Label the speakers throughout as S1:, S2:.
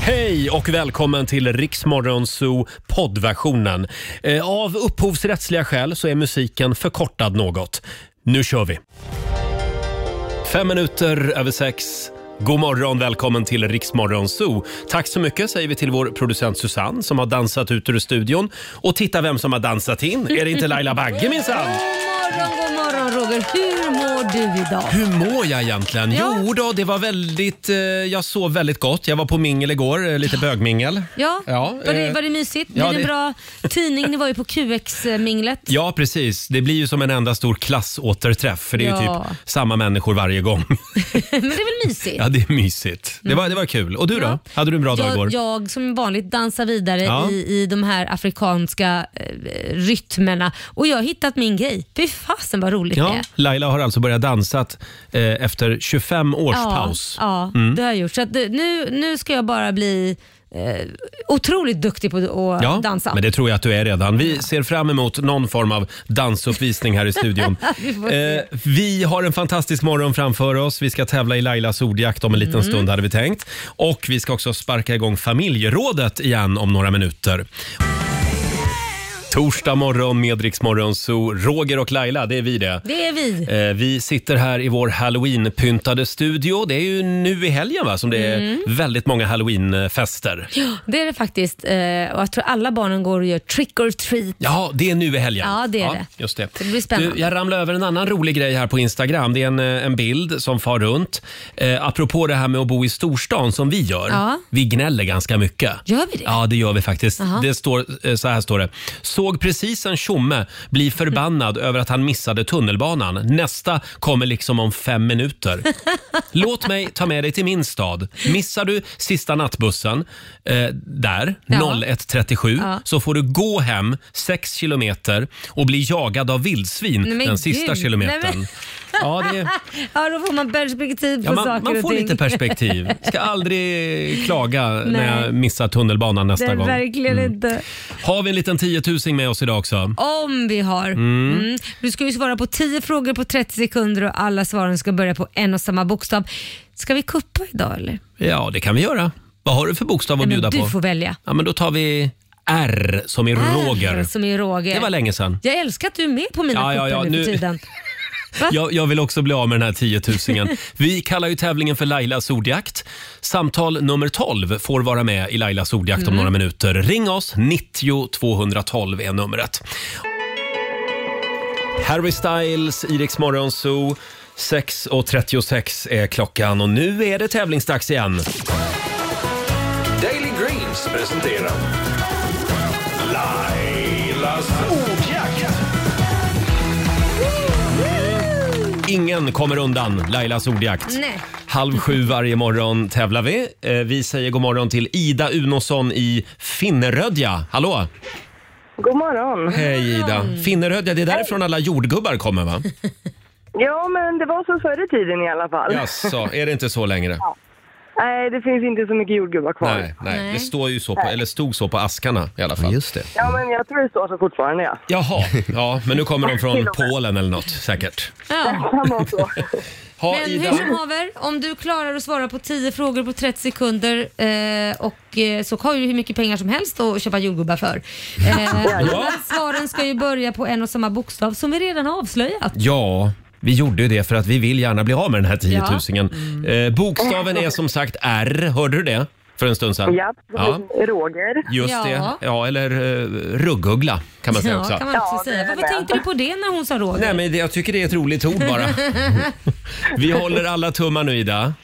S1: Hej och välkommen till Riksmorgon Zoo poddversionen. Eh, Av upphovsrättsliga skäl så är musiken förkortad något. Nu kör vi! Fem minuter över sex. God morgon, välkommen till Riksmorgon Zoo. Tack så mycket säger vi till vår producent Susanne som har dansat ut ur studion. Och titta vem som har dansat in. Är det inte Laila Bagge minsann?
S2: morgon, god morgon Roger. Hur mår du idag?
S1: Hur mår jag egentligen?
S2: Ja.
S1: Jo då, det var väldigt... Eh, jag sov väldigt gott. Jag var på mingel igår, eh, lite bögmingel.
S2: Ja,
S1: Ja,
S2: var, det,
S1: eh,
S2: var det mysigt?
S1: ja,
S2: Blev det
S1: det-
S2: en bra tidning? Ni var ju på QX-minglet.
S1: Ja, precis. Det blir ju som en enda stor klassåterträff för det är ju
S2: Ja.
S1: typ samma människor varje gång.
S2: Men det är väl mysigt?
S1: Ja, det är mysigt. Det var, det var kul. Och du då?
S2: Ja.
S1: Hade du en bra dag igår?
S2: jag, jag som vanligt dansar vidare
S1: Ja.
S2: i, i de här afrikanska eh, rytmerna och jag har hittat min grej. Fy fasen vad roligt det
S1: Ja,
S2: är.
S1: Laila har alltså börjat dansat eh, efter 25 års paus.
S2: Ja,
S1: Mm.
S2: det har jag gjort. Så att, det- nu, nu ska jag bara bli eh, otroligt duktig på att
S1: Ja,
S2: dansa.
S1: men det tror jag att du är redan. Vi ser fram emot någon form av dansuppvisning här i studion.
S2: Vi får se.
S1: Eh, vi har en fantastisk morgon framför oss. Vi ska tävla i Lailas ordjakt om en liten stund hade vi tänkt. Och vi ska också sparka igång familjerådet igen om några minuter. Torsdag morgon med Rix Morgon, så Roger och Laila, det är vi det.
S2: Det är vi.
S1: Eh, Vi sitter här i vår halloween-pyntade studio. Det är ju nu i helgen va, som det är
S2: Mm.
S1: väldigt många halloween-fester.
S2: Det är det faktiskt. Eh, och jag tror alla barnen går och gör trick or treat.
S1: Ja, det är nu i helgen.
S2: Ja, det är det.
S1: Just det.
S2: Det blir spännande.
S1: Du, jag ramlade över en annan rolig grej här på Instagram. Det är en, eh, en bild som far runt. Eh, apropå det här med att bo i storstan som vi gör.
S2: Ja.
S1: Vi gnäller ganska mycket.
S2: Gör vi det?
S1: Ja, det gör vi faktiskt.
S2: Jaha.
S1: Det står, eh, så här står det. Såg precis en tjomme bli förbannad över att han missade tunnelbanan. Nästa kommer liksom om fem minuter. Låt mig ta med dig till min stad. Missar du sista nattbussen eh, där,
S2: Ja.
S1: 01.37,
S2: Ja.
S1: så får du gå hem sex kilometer och bli jagad av vildsvin
S2: Nej, men
S1: den sista
S2: gud.
S1: kilometern.
S2: Nej, men-
S1: Ja, det,
S2: Ja, då får man perspektiv på
S1: ja, man,
S2: saker
S1: man
S2: och
S1: får
S2: ting.
S1: lite perspektiv. Ska aldrig klaga när
S2: Nej.
S1: jag missar tunnelbanan
S2: Det
S1: nästa
S2: är
S1: gång. Mm.
S2: verkligen inte.
S1: Har vi en liten tiotusing med oss idag också?
S2: Om vi har. Mm. Du ska ju svara på 10 frågor på 30 sekunder och alla svaren ska börja på en och samma bokstav. Ska vi kuppa idag eller?
S1: Ja, det kan vi göra. Vad har du för bokstav att
S2: Nej,
S1: bjuda
S2: men du
S1: på?
S2: får välja.
S1: Ja, men då tar vi R som i
S2: R
S1: Roger.
S2: Som är Roger.
S1: Det var länge sedan.
S2: Jag älskar att du är med på mina
S1: Ja, ja,
S2: kuppar
S1: ja,
S2: nu
S1: nu-
S2: för tiden.
S1: Jag, jag vill också bli av med den här tiotusingen. Vi kallar ju tävlingen för Lailas ordjakt. Samtal nummer 12 får vara med i Lailas ordjakt om några minuter. Ring oss, 90 212 är numret. Harry Styles, Iriks morgonzoo. 6.36 är klockan och nu är det tävlingsdags igen.
S3: Daily Greens presenterar Lailas ordjakt.
S1: Ingen kommer undan Lailas ordjakt.
S2: Nej.
S1: Halv sju varje morgon tävlar vi. Eh, Vi säger god morgon till Ida Unosson i Finnerödja. Hallå!
S4: God morgon.
S1: Hej Ida!
S2: Mm.
S1: Finnerödja, det är därifrån alla jordgubbar kommer va?
S4: Ja, men det var så förr i tiden i alla fall.
S1: Jaså, är det inte så längre?
S4: Nej, det finns inte så mycket jordgubbar kvar.
S1: Nej, nej.
S2: Nej.
S1: Det står ju så på, eller stod så på askarna i alla fall.
S5: Just det.
S4: Ja, men jag tror det står så fortfarande, ja.
S1: Jaha, ja, men nu kommer de från Polen eller något säkert.
S2: Ja.
S4: Kan vara så.
S1: Ha,
S2: Men hur
S1: Ida.
S2: som haver, om du klarar att svara på 10 frågor på 30 sekunder eh, och eh, så har du hur mycket pengar som helst att köpa jordgubbar för. Eh, alla svaren ska ju börja på en och samma bokstav som vi redan har avslöjat.
S1: Ja, vi gjorde ju det för att vi vill gärna bli av med den här tiotusingen.
S2: Mm.
S1: Eh, bokstaven är som sagt R, hörde du det? För en stund sedan.
S4: ja,
S1: Ja,
S4: Roger.
S1: just
S2: Ja.
S1: det. Ja, eller eh, ruggugla kan man säga
S2: Ja,
S1: också.
S2: kan man också
S4: Ja, det
S2: säga.
S4: är
S2: Varför
S4: det.
S2: tänkte du på det när hon sa Roger?
S1: Nej, men det, jag tycker det är ett roligt ord bara. vi håller alla tummar nu Ida.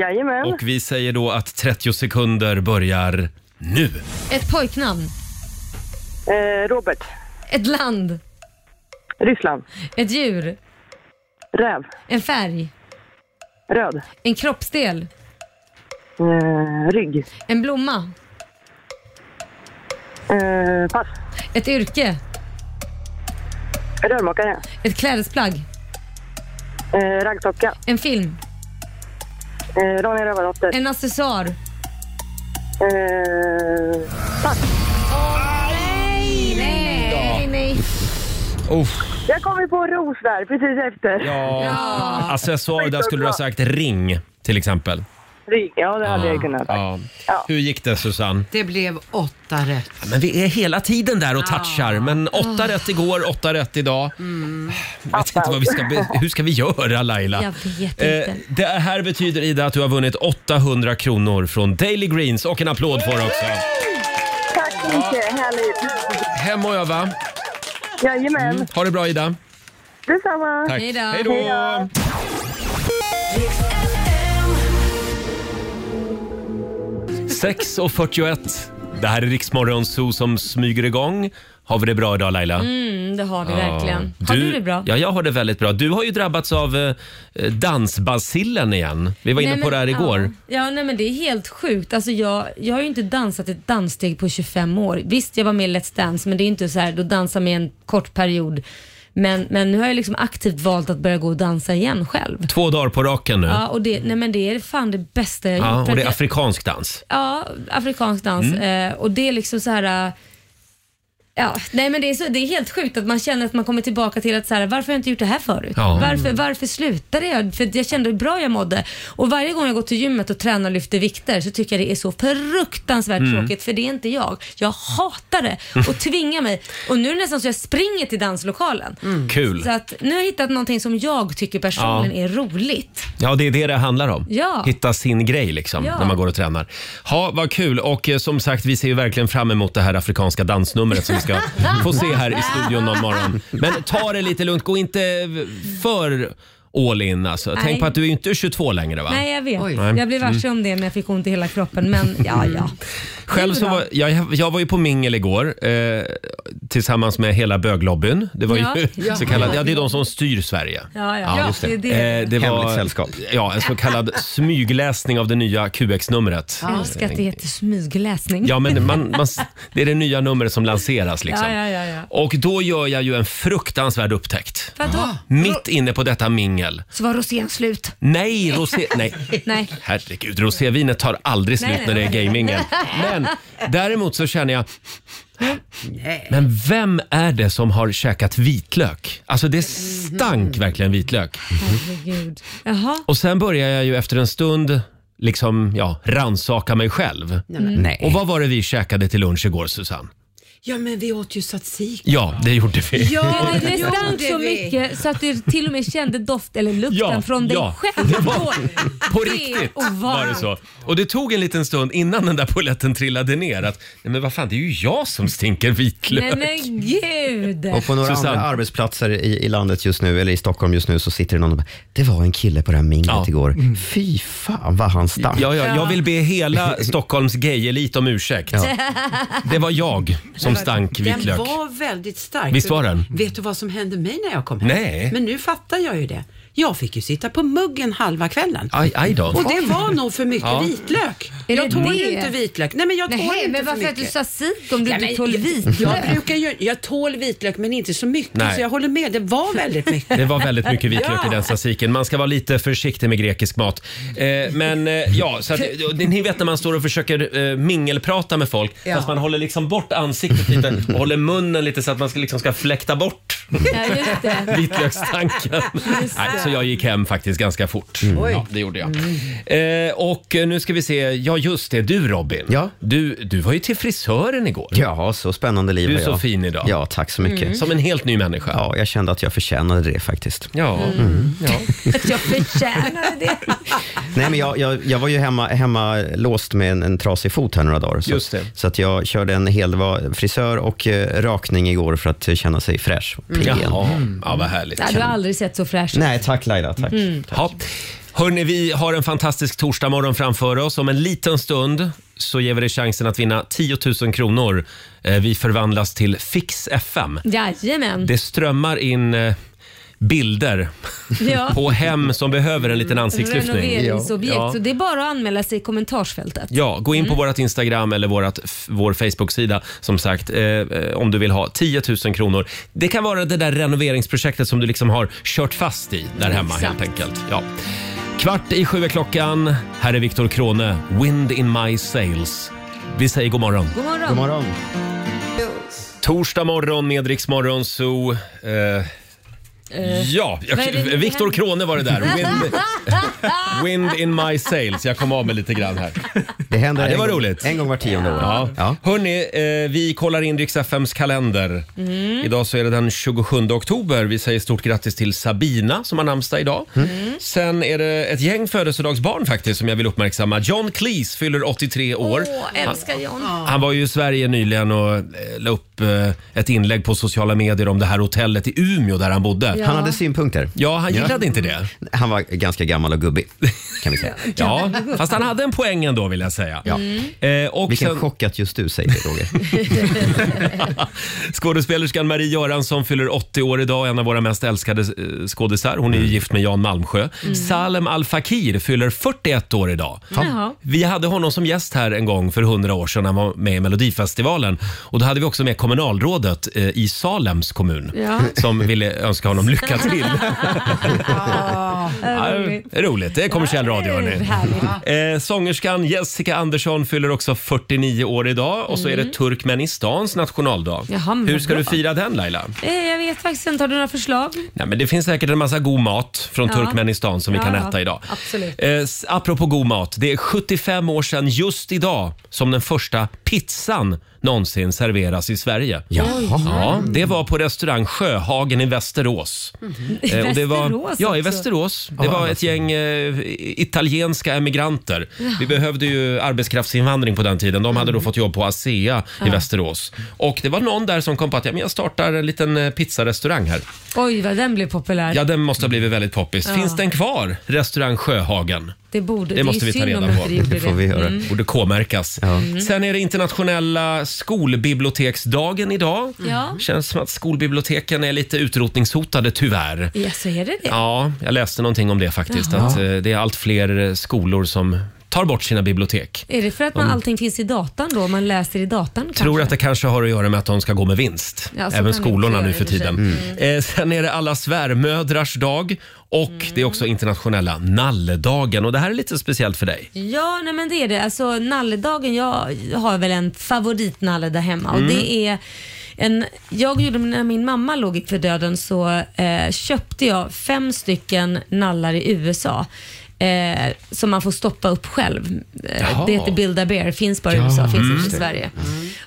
S4: Jajamän.
S1: Och vi säger då att 30 sekunder börjar nu.
S2: Ett pojknamn,
S4: Eh, Robert.
S2: ett land,
S4: Ryssland.
S2: ett djur,
S4: Räv.
S2: en färg,
S4: Röd.
S2: en kroppsdel,
S4: Eh, rygg.
S2: en blomma,
S4: Eh, pass.
S2: ett yrke,
S4: Rörmokare.
S2: ett klädesplagg,
S4: Eh, raggtocka.
S2: en film,
S4: Eh, Ronja Rövardotter.
S2: en accessoar.
S4: Eh,
S2: Nej, nej, nej.
S4: jag kom ju på ros där precis efter.
S1: Ja. Alltså,
S2: Ja.
S1: Accessoar, där skulle du ha sagt ring till exempel.
S4: Rik, ja det hade
S1: Ah.
S4: jag kunnat.
S1: ja.
S4: Ja.
S1: Hur gick det Susanne?
S5: Det blev åtta rätt.
S1: Ja, men vi är hela tiden där och touchar.
S2: Ah.
S1: Men åtta rätt igår, åtta rätt idag.
S5: Mm.
S1: Jag vet inte vad vi ska be- Hur ska vi göra Laila?
S2: Ah. Jag vet
S1: Eh,
S2: inte.
S1: det här betyder Ida att du har vunnit 800 kronor från Daily Greens och en applåd för också.
S4: Tack så mycket, härligt.
S1: Hem och öva. Mm.
S4: Jajamän,
S1: Ha det bra Ida.
S4: detsamma.
S1: Tack.
S2: Hej då.
S1: Hej då. Sex och 41. Det här är Riksmorgon Zoo som smyger igång. Har vi det bra idag Laila? Ah.
S2: Mm, det har vi verkligen. Har du, det bra?
S1: Ja, jag har det väldigt bra. Du har ju drabbats av eh, dansbacillen igen. Vi var inne
S2: Nej,
S1: på
S2: men-
S1: det här igår.
S2: Ja, ja nej, men det är helt sjukt. Alltså, jag, jag har ju inte dansat ett danssteg på 25 år. Visst, jag var med i Let's Dance, men det är inte så här, då dansar man i en kort period. Men, men nu har jag liksom aktivt valt att börja gå och dansa igen själv.
S1: Två dagar på raken nu.
S2: Ja, och det, nej, men det är fan det bästa jag har
S1: Ja, och
S2: gjort.
S1: det
S2: För
S1: är
S2: att jag-
S1: afrikansk dans.
S2: Ja, afrikansk dans.
S1: Mm.
S2: Eh, och det är liksom så här... eh, Ja, nej men det är, så, det är helt sjukt att man känner att man kommer tillbaka till att så här, varför har jag inte gjort det här förut?
S1: Ja. Mm.
S2: Varför, varför slutade jag? För jag kände hur bra jag mådde. Och varje gång jag går till gymmet och tränar och lyfter vikter så tycker jag det är så fruktansvärt
S1: Mm.
S2: tråkigt för det är inte jag. Jag hatar det och tvingar mig. Och nu är det nästan så jag springer till danslokalen.
S1: Mm. Kul.
S2: Mm. Så att nu har jag hittat någonting som jag tycker personligen
S1: Ja.
S2: är roligt.
S1: Ja, det är det det handlar om.
S2: Ja.
S1: Hitta sin grej liksom,
S2: Ja.
S1: när man går och tränar. Ha, vad kul. Och eh, som sagt, vi ser ju verkligen fram emot det här afrikanska dansnumret som vi ska få se här i studion någon morgon. Men ta det lite lugnt. Gå inte för all in alltså.
S2: Nej.
S1: Tänk på att du är ju inte 22 längre va?
S2: Nej jag vet.
S5: Oj.
S2: Jag blev varse om det men jag fick ont i hela kroppen. Men ja,
S1: Mm.
S2: ja.
S1: Själv så
S2: bra.
S1: var, jag, jag var ju på mingel igår eh, tillsammans med hela böglobbyn. Det var ju
S2: Ja.
S1: så kallad, ja det är de som styr Sverige.
S2: Ja, ja.
S1: just
S2: Ja, det är det.
S1: Eh, det var,
S6: Hemligt sällskap.
S1: Ja, en så kallad smygläsning av det nya QX-numret.
S2: Jag älskar att det heter smygläsning.
S1: Ja, men man, man, det är det nya numret som lanseras liksom.
S2: Ja, ja, ja, ja.
S1: Och då gör jag ju en fruktansvärd upptäckt.
S2: Vadå?
S1: Mitt inne på detta mingel.
S2: Så var rosén slut?
S1: Nej, rosé... Nej.
S2: Nej.
S1: Herregud, rosévinet tar aldrig slut
S2: Nej,
S1: när
S2: nej,
S1: det är gamingen. Men däremot så känner jag... Men vem är det som har käkat vitlök? Alltså det stank verkligen vitlök.
S2: Mm. Herregud. Jaha.
S1: Och sen börjar jag ju efter en stund liksom, ja, ransaka mig själv.
S6: Nej.
S1: Och vad var det vi käkade till lunch igår, Susanne?
S5: Ja, men vi åt ju tzatziki.
S1: Ja, det gjorde vi.
S5: Ja,
S2: Det stank så mycket så att du till och med kände doft eller lukten
S1: Ja,
S2: från dig
S1: ja.
S2: själv.
S1: Det var-
S2: Då-
S1: På
S2: det är
S1: riktigt var det
S2: ovant.
S1: så. Och det tog en liten stund innan den där polletten trillade ner att, nej men vad fan, det är ju jag som stinker vitlök.
S2: Nej men gud.
S6: Och på några
S1: Susanne.
S6: andra arbetsplatser i, i landet just nu, eller i Stockholm just nu, så sitter det någon och bara, det var en kille på det här minglet
S1: Ja. Mm.
S6: igår. Fy fan vad han stank.
S1: Ja, ja, jag vill be hela Stockholms gayelit om ursäkt. Det var jag som stank
S5: Den
S1: vitlök.
S5: var väldigt stark.
S1: Visst var den?
S5: Vet du vad som hände mig när jag kom hem?
S1: Nej.
S5: Men nu fattar jag ju det. Jag fick ju sitta på muggen halva kvällen.
S1: Aj, aj då.
S5: Och det var nog för mycket
S1: Ja.
S5: vitlök.
S2: Är det
S5: jag tål
S2: det?
S5: ju inte vitlök. Nej men jag tål
S2: Nej,
S5: inte
S2: men
S5: för
S2: varför att du
S5: mycket.
S2: sa sik om du
S5: Ja,
S2: inte
S5: men-
S2: tål
S5: Jag,
S2: vitlök?
S5: brukar ju, jag tål vitlök men inte så mycket
S1: Nej.
S5: så jag håller med. Det var väldigt mycket.
S1: Det var väldigt mycket vitlök
S5: Ja.
S1: i den stasiken. Man ska vara lite försiktig med grekisk mat. Eh, men eh, ja, så att, ni vet när man står och försöker eh, mingelprata med folk
S5: Ja.
S1: fast man håller liksom bort ansiktet lite och håller munnen lite så att man ska, liksom ska fläkta bort
S2: Ja, just det.
S1: vitlökstanken. Nej, så jag gick hem faktiskt ganska fort. Ja, det gjorde jag. Eh, och eh, nu ska vi se, ja just det, du Robin.
S6: Ja.
S1: Du, du var ju till frisören igår.
S6: Ja, så spännande liv
S1: Du är
S6: har
S1: så
S6: jag.
S1: fin idag. Mm.
S6: Ja, tack så mycket.
S1: Som en helt ny människa.
S6: Ja, jag kände att jag förtjänade det faktiskt. Mm.
S1: Ja.
S5: Mm.
S1: ja.
S2: Mm. Att jag förtjänade det.
S6: Nej, men jag, jag, jag var ju hemma, hemma låst med en, en trasig fot här några dagar. Så,
S1: Just det.
S6: så att jag körde en hel det var frisör och eh, rakning igår för att eh, känna sig fräsch och pigg igen.
S1: Mm. Jaha. Ja, vad härligt.
S2: Nej, du har aldrig sett så fräsch ut.
S6: Nej, tack Laila. Tack.
S2: Mm.
S1: Ja. Hörni, vi har en fantastisk torsdagmorgon framför oss. Om en liten stund så ger vi dig chansen att vinna 10 000 kronor. Eh, Vi förvandlas till Fix FM.
S2: Jajamän.
S1: Det strömmar in eh, bilder
S2: Ja. Mm.
S1: på hem som behöver en liten
S2: Alltså,
S1: ansiktslyftning.
S2: Renoveringsobjekt.
S1: Ja.
S2: Så det är bara att anmäla sig i kommentarsfältet.
S1: Ja, gå
S2: Mm.
S1: in på vårt Instagram eller vårat, f- vår Facebook-sida som sagt eh, eh, om du vill ha 10 000 kronor. Det kan vara det där renoveringsprojektet som du liksom har kört fast i där hemma helt enkelt. Ja. Kvart i sju är klockan. Här är Viktor Krone, Wind in my sails. Vi säger god morgon.
S2: God morgon.
S6: God morgon.
S1: Torsdag morgon med Rix Morgon Zoo. Eh, Ja, jag,
S2: Vad är det-
S1: Viktor Krone var det där. Wind, wind in my sails. Jag kom av mig lite grann här.
S6: Det händer
S1: Ja, det var
S6: en, gång-
S1: roligt.
S6: en gång var tionde år.
S1: Ja.
S6: Ja.
S1: Hörni, eh, vi kollar in Rix FMs kalender.
S2: Mm.
S1: Idag så är det den 27 oktober. Vi säger stort grattis till Sabina som har namnsdag idag.
S6: Mm.
S1: Sen är det ett gäng födelsedagsbarn faktiskt som jag vill uppmärksamma. John Cleese fyller 83 år.
S2: Åh, älskar John.
S1: Han var ju i Sverige nyligen och eh, la upp eh, ett inlägg på sociala medier om det här hotellet i Umeå där han bodde. Ja,
S6: Han hade synpunkter.
S1: han gillade inte det.
S6: Han var ganska gammal och gubbig, kan vi säga.
S1: Ja, fast han hade en poäng ändå vill jag säga.
S7: mm.
S1: Eh, och
S6: Vilken
S1: sen,
S6: chock att just du säger det, Roger.
S1: Skådespelerskan Marie Göransson fyller 80 år idag, en av våra mest älskade eh, skådisar. Hon är
S6: Mm.
S1: ju gift med Jan Malmsjö.
S2: Mm.
S1: Salem Al Fakir fyller 41 år idag.
S2: Jaha.
S1: Vi hade honom som gäst här en gång för 100 år sedan när han var med i Melodifestivalen. Och då hade vi också med kommunalrådet eh, i Salems kommun
S2: Ja.
S1: som ville önska honom lycka till. Ja,
S2: roligt.
S1: det är roligt. Det är kommersiell radio.
S2: det är
S1: Hörni. Eh, sångerskan Jessica Andersson fyller också 49 år idag och så är det Turkmenistans nationaldag.
S2: Mm. Jaha, men
S1: Hur
S2: vad
S1: ska du
S2: bra.
S1: fira den Laila?
S2: Eh, Jag vet faktiskt inte, har du några förslag?
S1: Nej, men det finns säkert en massa god mat från
S2: Ja.
S1: Turkmenistan som vi
S2: Ja,
S1: kan
S2: ja.
S1: äta idag.
S2: Absolut.
S1: Eh, s- apropå god mat, det är 75 år sedan just idag som den första pizzan någonsin serveras i Sverige.
S6: Jaha.
S1: Ja, det var på restaurang Sjöhagen i Västerås. Eh, och det var,
S2: Mm-hmm. Västerås
S1: Ja, i
S2: också?
S1: Västerås. Det var ett gäng eh, italienska emigranter. Vi behövde ju arbetskraftsinvandring på den tiden. De
S2: Mm.
S1: hade då fått jobb på ASEA i Västerås. Och det var någon där som kom på att ja, men jag startar en liten eh, pizzarestaurang här.
S2: Oj, vad den blev populär.
S1: Ja, den måste ha blivit väldigt poppis. Finns den kvar, restaurang Sjöhagen?
S2: Det, borde,
S1: Det måste
S2: är
S1: vi ta
S2: synd
S1: reda
S2: om
S1: på.
S2: inte gjorde Mm.
S6: Det får vi göra.
S1: Borde K-märkas. Sen är det internationella skolbiblioteksdagen idag.
S2: Ja.
S1: Känns som att skolbiblioteken är lite utrotningshotade tyvärr.
S2: Ja, så är det det?
S1: Ja, jag läste någonting om det faktiskt. Att eh, det är allt fler eh, skolor som tar bort sina bibliotek.
S2: Är det för att man,
S1: Mm.
S2: allting finns i datan då? Man läser i datan kanske?
S1: tror att det kanske har att göra med att de ska gå med vinst.
S2: Ja, så kan
S1: Även
S2: det
S1: skolorna
S2: också
S1: nu
S2: göra
S1: för
S2: i och för Mm.
S1: tiden. Eh, sen är det alla svärmödrars dag och det är också internationella nalledagen. Och det här är lite speciellt för dig.
S2: Ja, nej men det är det. Alltså nalledagen, jag har väl en favoritnalle där hemma och det är en, jag gjorde när min mamma låg för döden så eh, köpte jag fem stycken nallar i USA. Eh, som man får stoppa upp själv. Eh,
S1: Jaha.
S2: det heter Build a Bear, finns bara i USA, finns inte i Sverige.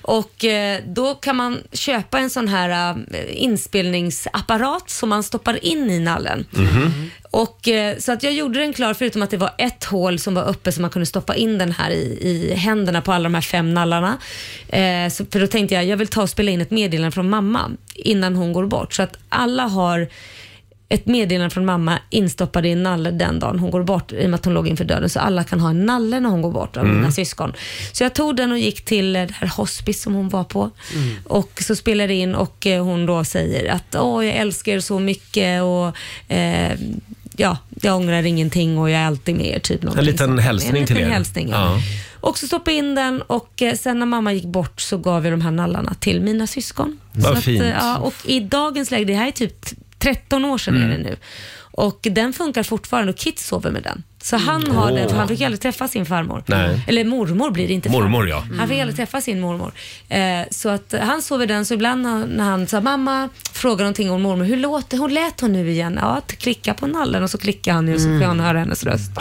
S2: Och eh, då kan man köpa en sån här eh, inspelningsapparat som man stoppar in i nallen. Och, eh, så att jag gjorde den klar förutom att det var ett hål som var öppet som man kunde stoppa in den här i, i händerna på alla de här fem nallarna. Eh, så, för då tänkte jag, jag vill ta och spela in ett meddelande från mamma innan hon går bort. Så att alla har ett meddelande från mamma instoppade i en nalle den dagen hon går bort i och med att hon låg inför döden så alla kan ha en nalle när hon går bort av mina syskon. Så jag tog den och gick till eh, det här hospice som hon var på och så spelade jag in och eh, hon då säger att åh jag älskar er så mycket och eh, ja, jag ångrar ingenting och jag är alltid med er. Typ någonting
S1: En liten
S2: sånt.
S1: hälsning
S2: en liten
S1: till er.
S2: Hälsning, ja.
S1: Ja.
S2: Och så stoppade jag in den och eh, sen när mamma gick bort så gav jag de här nallarna till mina syskon.
S1: Vad
S2: så eh,
S1: fint.
S2: ja, och i dagens läge, det här är typ t- 13 år sedan
S1: Mm.
S2: är det nu. Och den funkar fortfarande och Kit sover med den. Så han har den, för han fick ju aldrig träffa sin farmor.
S1: Nej.
S2: Eller mormor blir det inte.
S1: Mormor,
S2: farmor.
S1: ja.
S2: Han fick aldrig träffa sin mormor. Eh, så att eh, han sover den, så ibland när- när han sa mamma, frågar någonting om mormor, hur låter hon? Lät hon nu igen? Ja, att klicka på nallen och så klickar han ju och så får han höra hennes röst. Så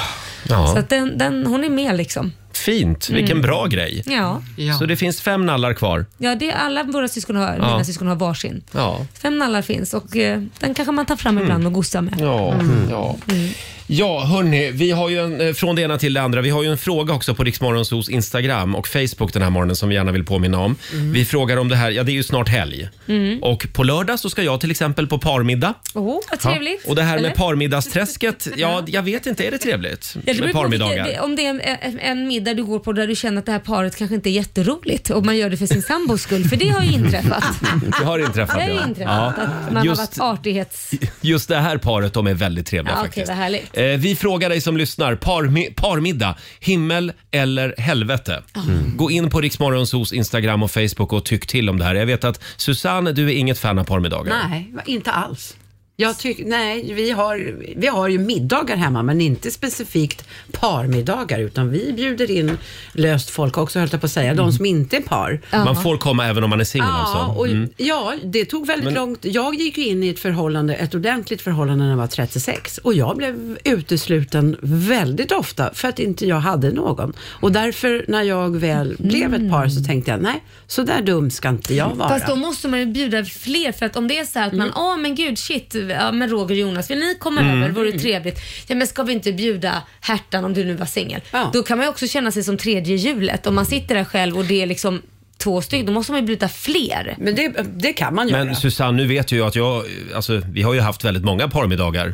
S1: Mm. Ja.
S2: att den, den, hon är med liksom.
S1: Fint, vilken bra grej.
S2: Ja.
S5: Ja.
S1: Så det finns fem nallar kvar.
S2: Ja, det är alla våra syskon har, mina syskon har varsin.
S1: Ja.
S2: Fem nallar finns och eh, den kanske man tar fram ibland och gosar med.
S1: Mm.
S2: Mm.
S1: Ja, Mm. ja. ja hörni, vi har ju en, eh, från det ena till det andra. Vi har ju en fråga också på Riksmorgonsos Instagram och Facebook den här morgonen som vi gärna vill påminna om. Vi frågar om det här, ja det är ju snart helg.
S2: Mm.
S1: Och på lördag så ska jag till exempel på parmiddag.
S2: Åh, vad trevligt.
S1: Och det här
S2: Eller?
S1: med parmiddagsträsket, ja jag vet inte, är det trevligt?
S2: Ja, det beror
S1: med
S2: på om det-
S1: parmiddagar?
S2: det- Om det är en, en- en middag du går på där du känner att det här paret kanske inte är jätteroligt och man gör det för sin sambos skull, för det har ju inträffat.
S1: Det har inträffat.
S2: Det har ju
S1: ja.
S2: inträffat
S1: Ja.
S2: att man
S1: Just-
S2: har varit artighets...
S1: Just det här paret, de är väldigt trevliga
S2: Ja, okej,
S1: faktiskt.
S2: vad härligt.
S1: Eh, vi frågar dig som lyssnar, parmi, parmiddag, himmel eller helvete?
S5: Mm.
S1: Gå in på Riksmorgonsos Instagram och Facebook och tyck till om det här. Jag vet att Susanne, du är inget fan av parmiddagar.
S5: Nej, inte alls. Jag tycker, nej, vi har, vi har ju middagar hemma, men inte specifikt parmiddagar, utan vi bjuder in löst folk också, höll jag på att säga,
S1: Mm.
S5: de som inte är par.
S1: Man får komma även om man är singel
S5: Ja,
S1: alltså.
S5: och, ja, det tog väldigt långt. Jag gick ju in i ett förhållande, ett ordentligt förhållande när jag var 36 och jag blev utesluten väldigt ofta för att inte jag hade någon. Och därför när jag väl blev ett par
S1: Mm.
S5: så tänkte jag, nej, så där dum ska inte jag vara. Mm.
S2: Fast då måste man ju bjuda fler för att om det är så här att man, ja men gud shit, ja, men Roger och Jonas vill ni komma över, vore
S5: Mm.
S2: det trevligt. Ja men ska vi inte bjuda Hertan om du nu var singel?
S5: Ja.
S2: Då kan man ju också känna sig som tredje hjulet om man sitter där själv och det är liksom två stycken, då måste man ju bjuda fler.
S5: Men det, det kan man göra.
S1: Men Susanne, nu vet ju jag att jag, alltså, vi har ju haft väldigt många parmiddagar.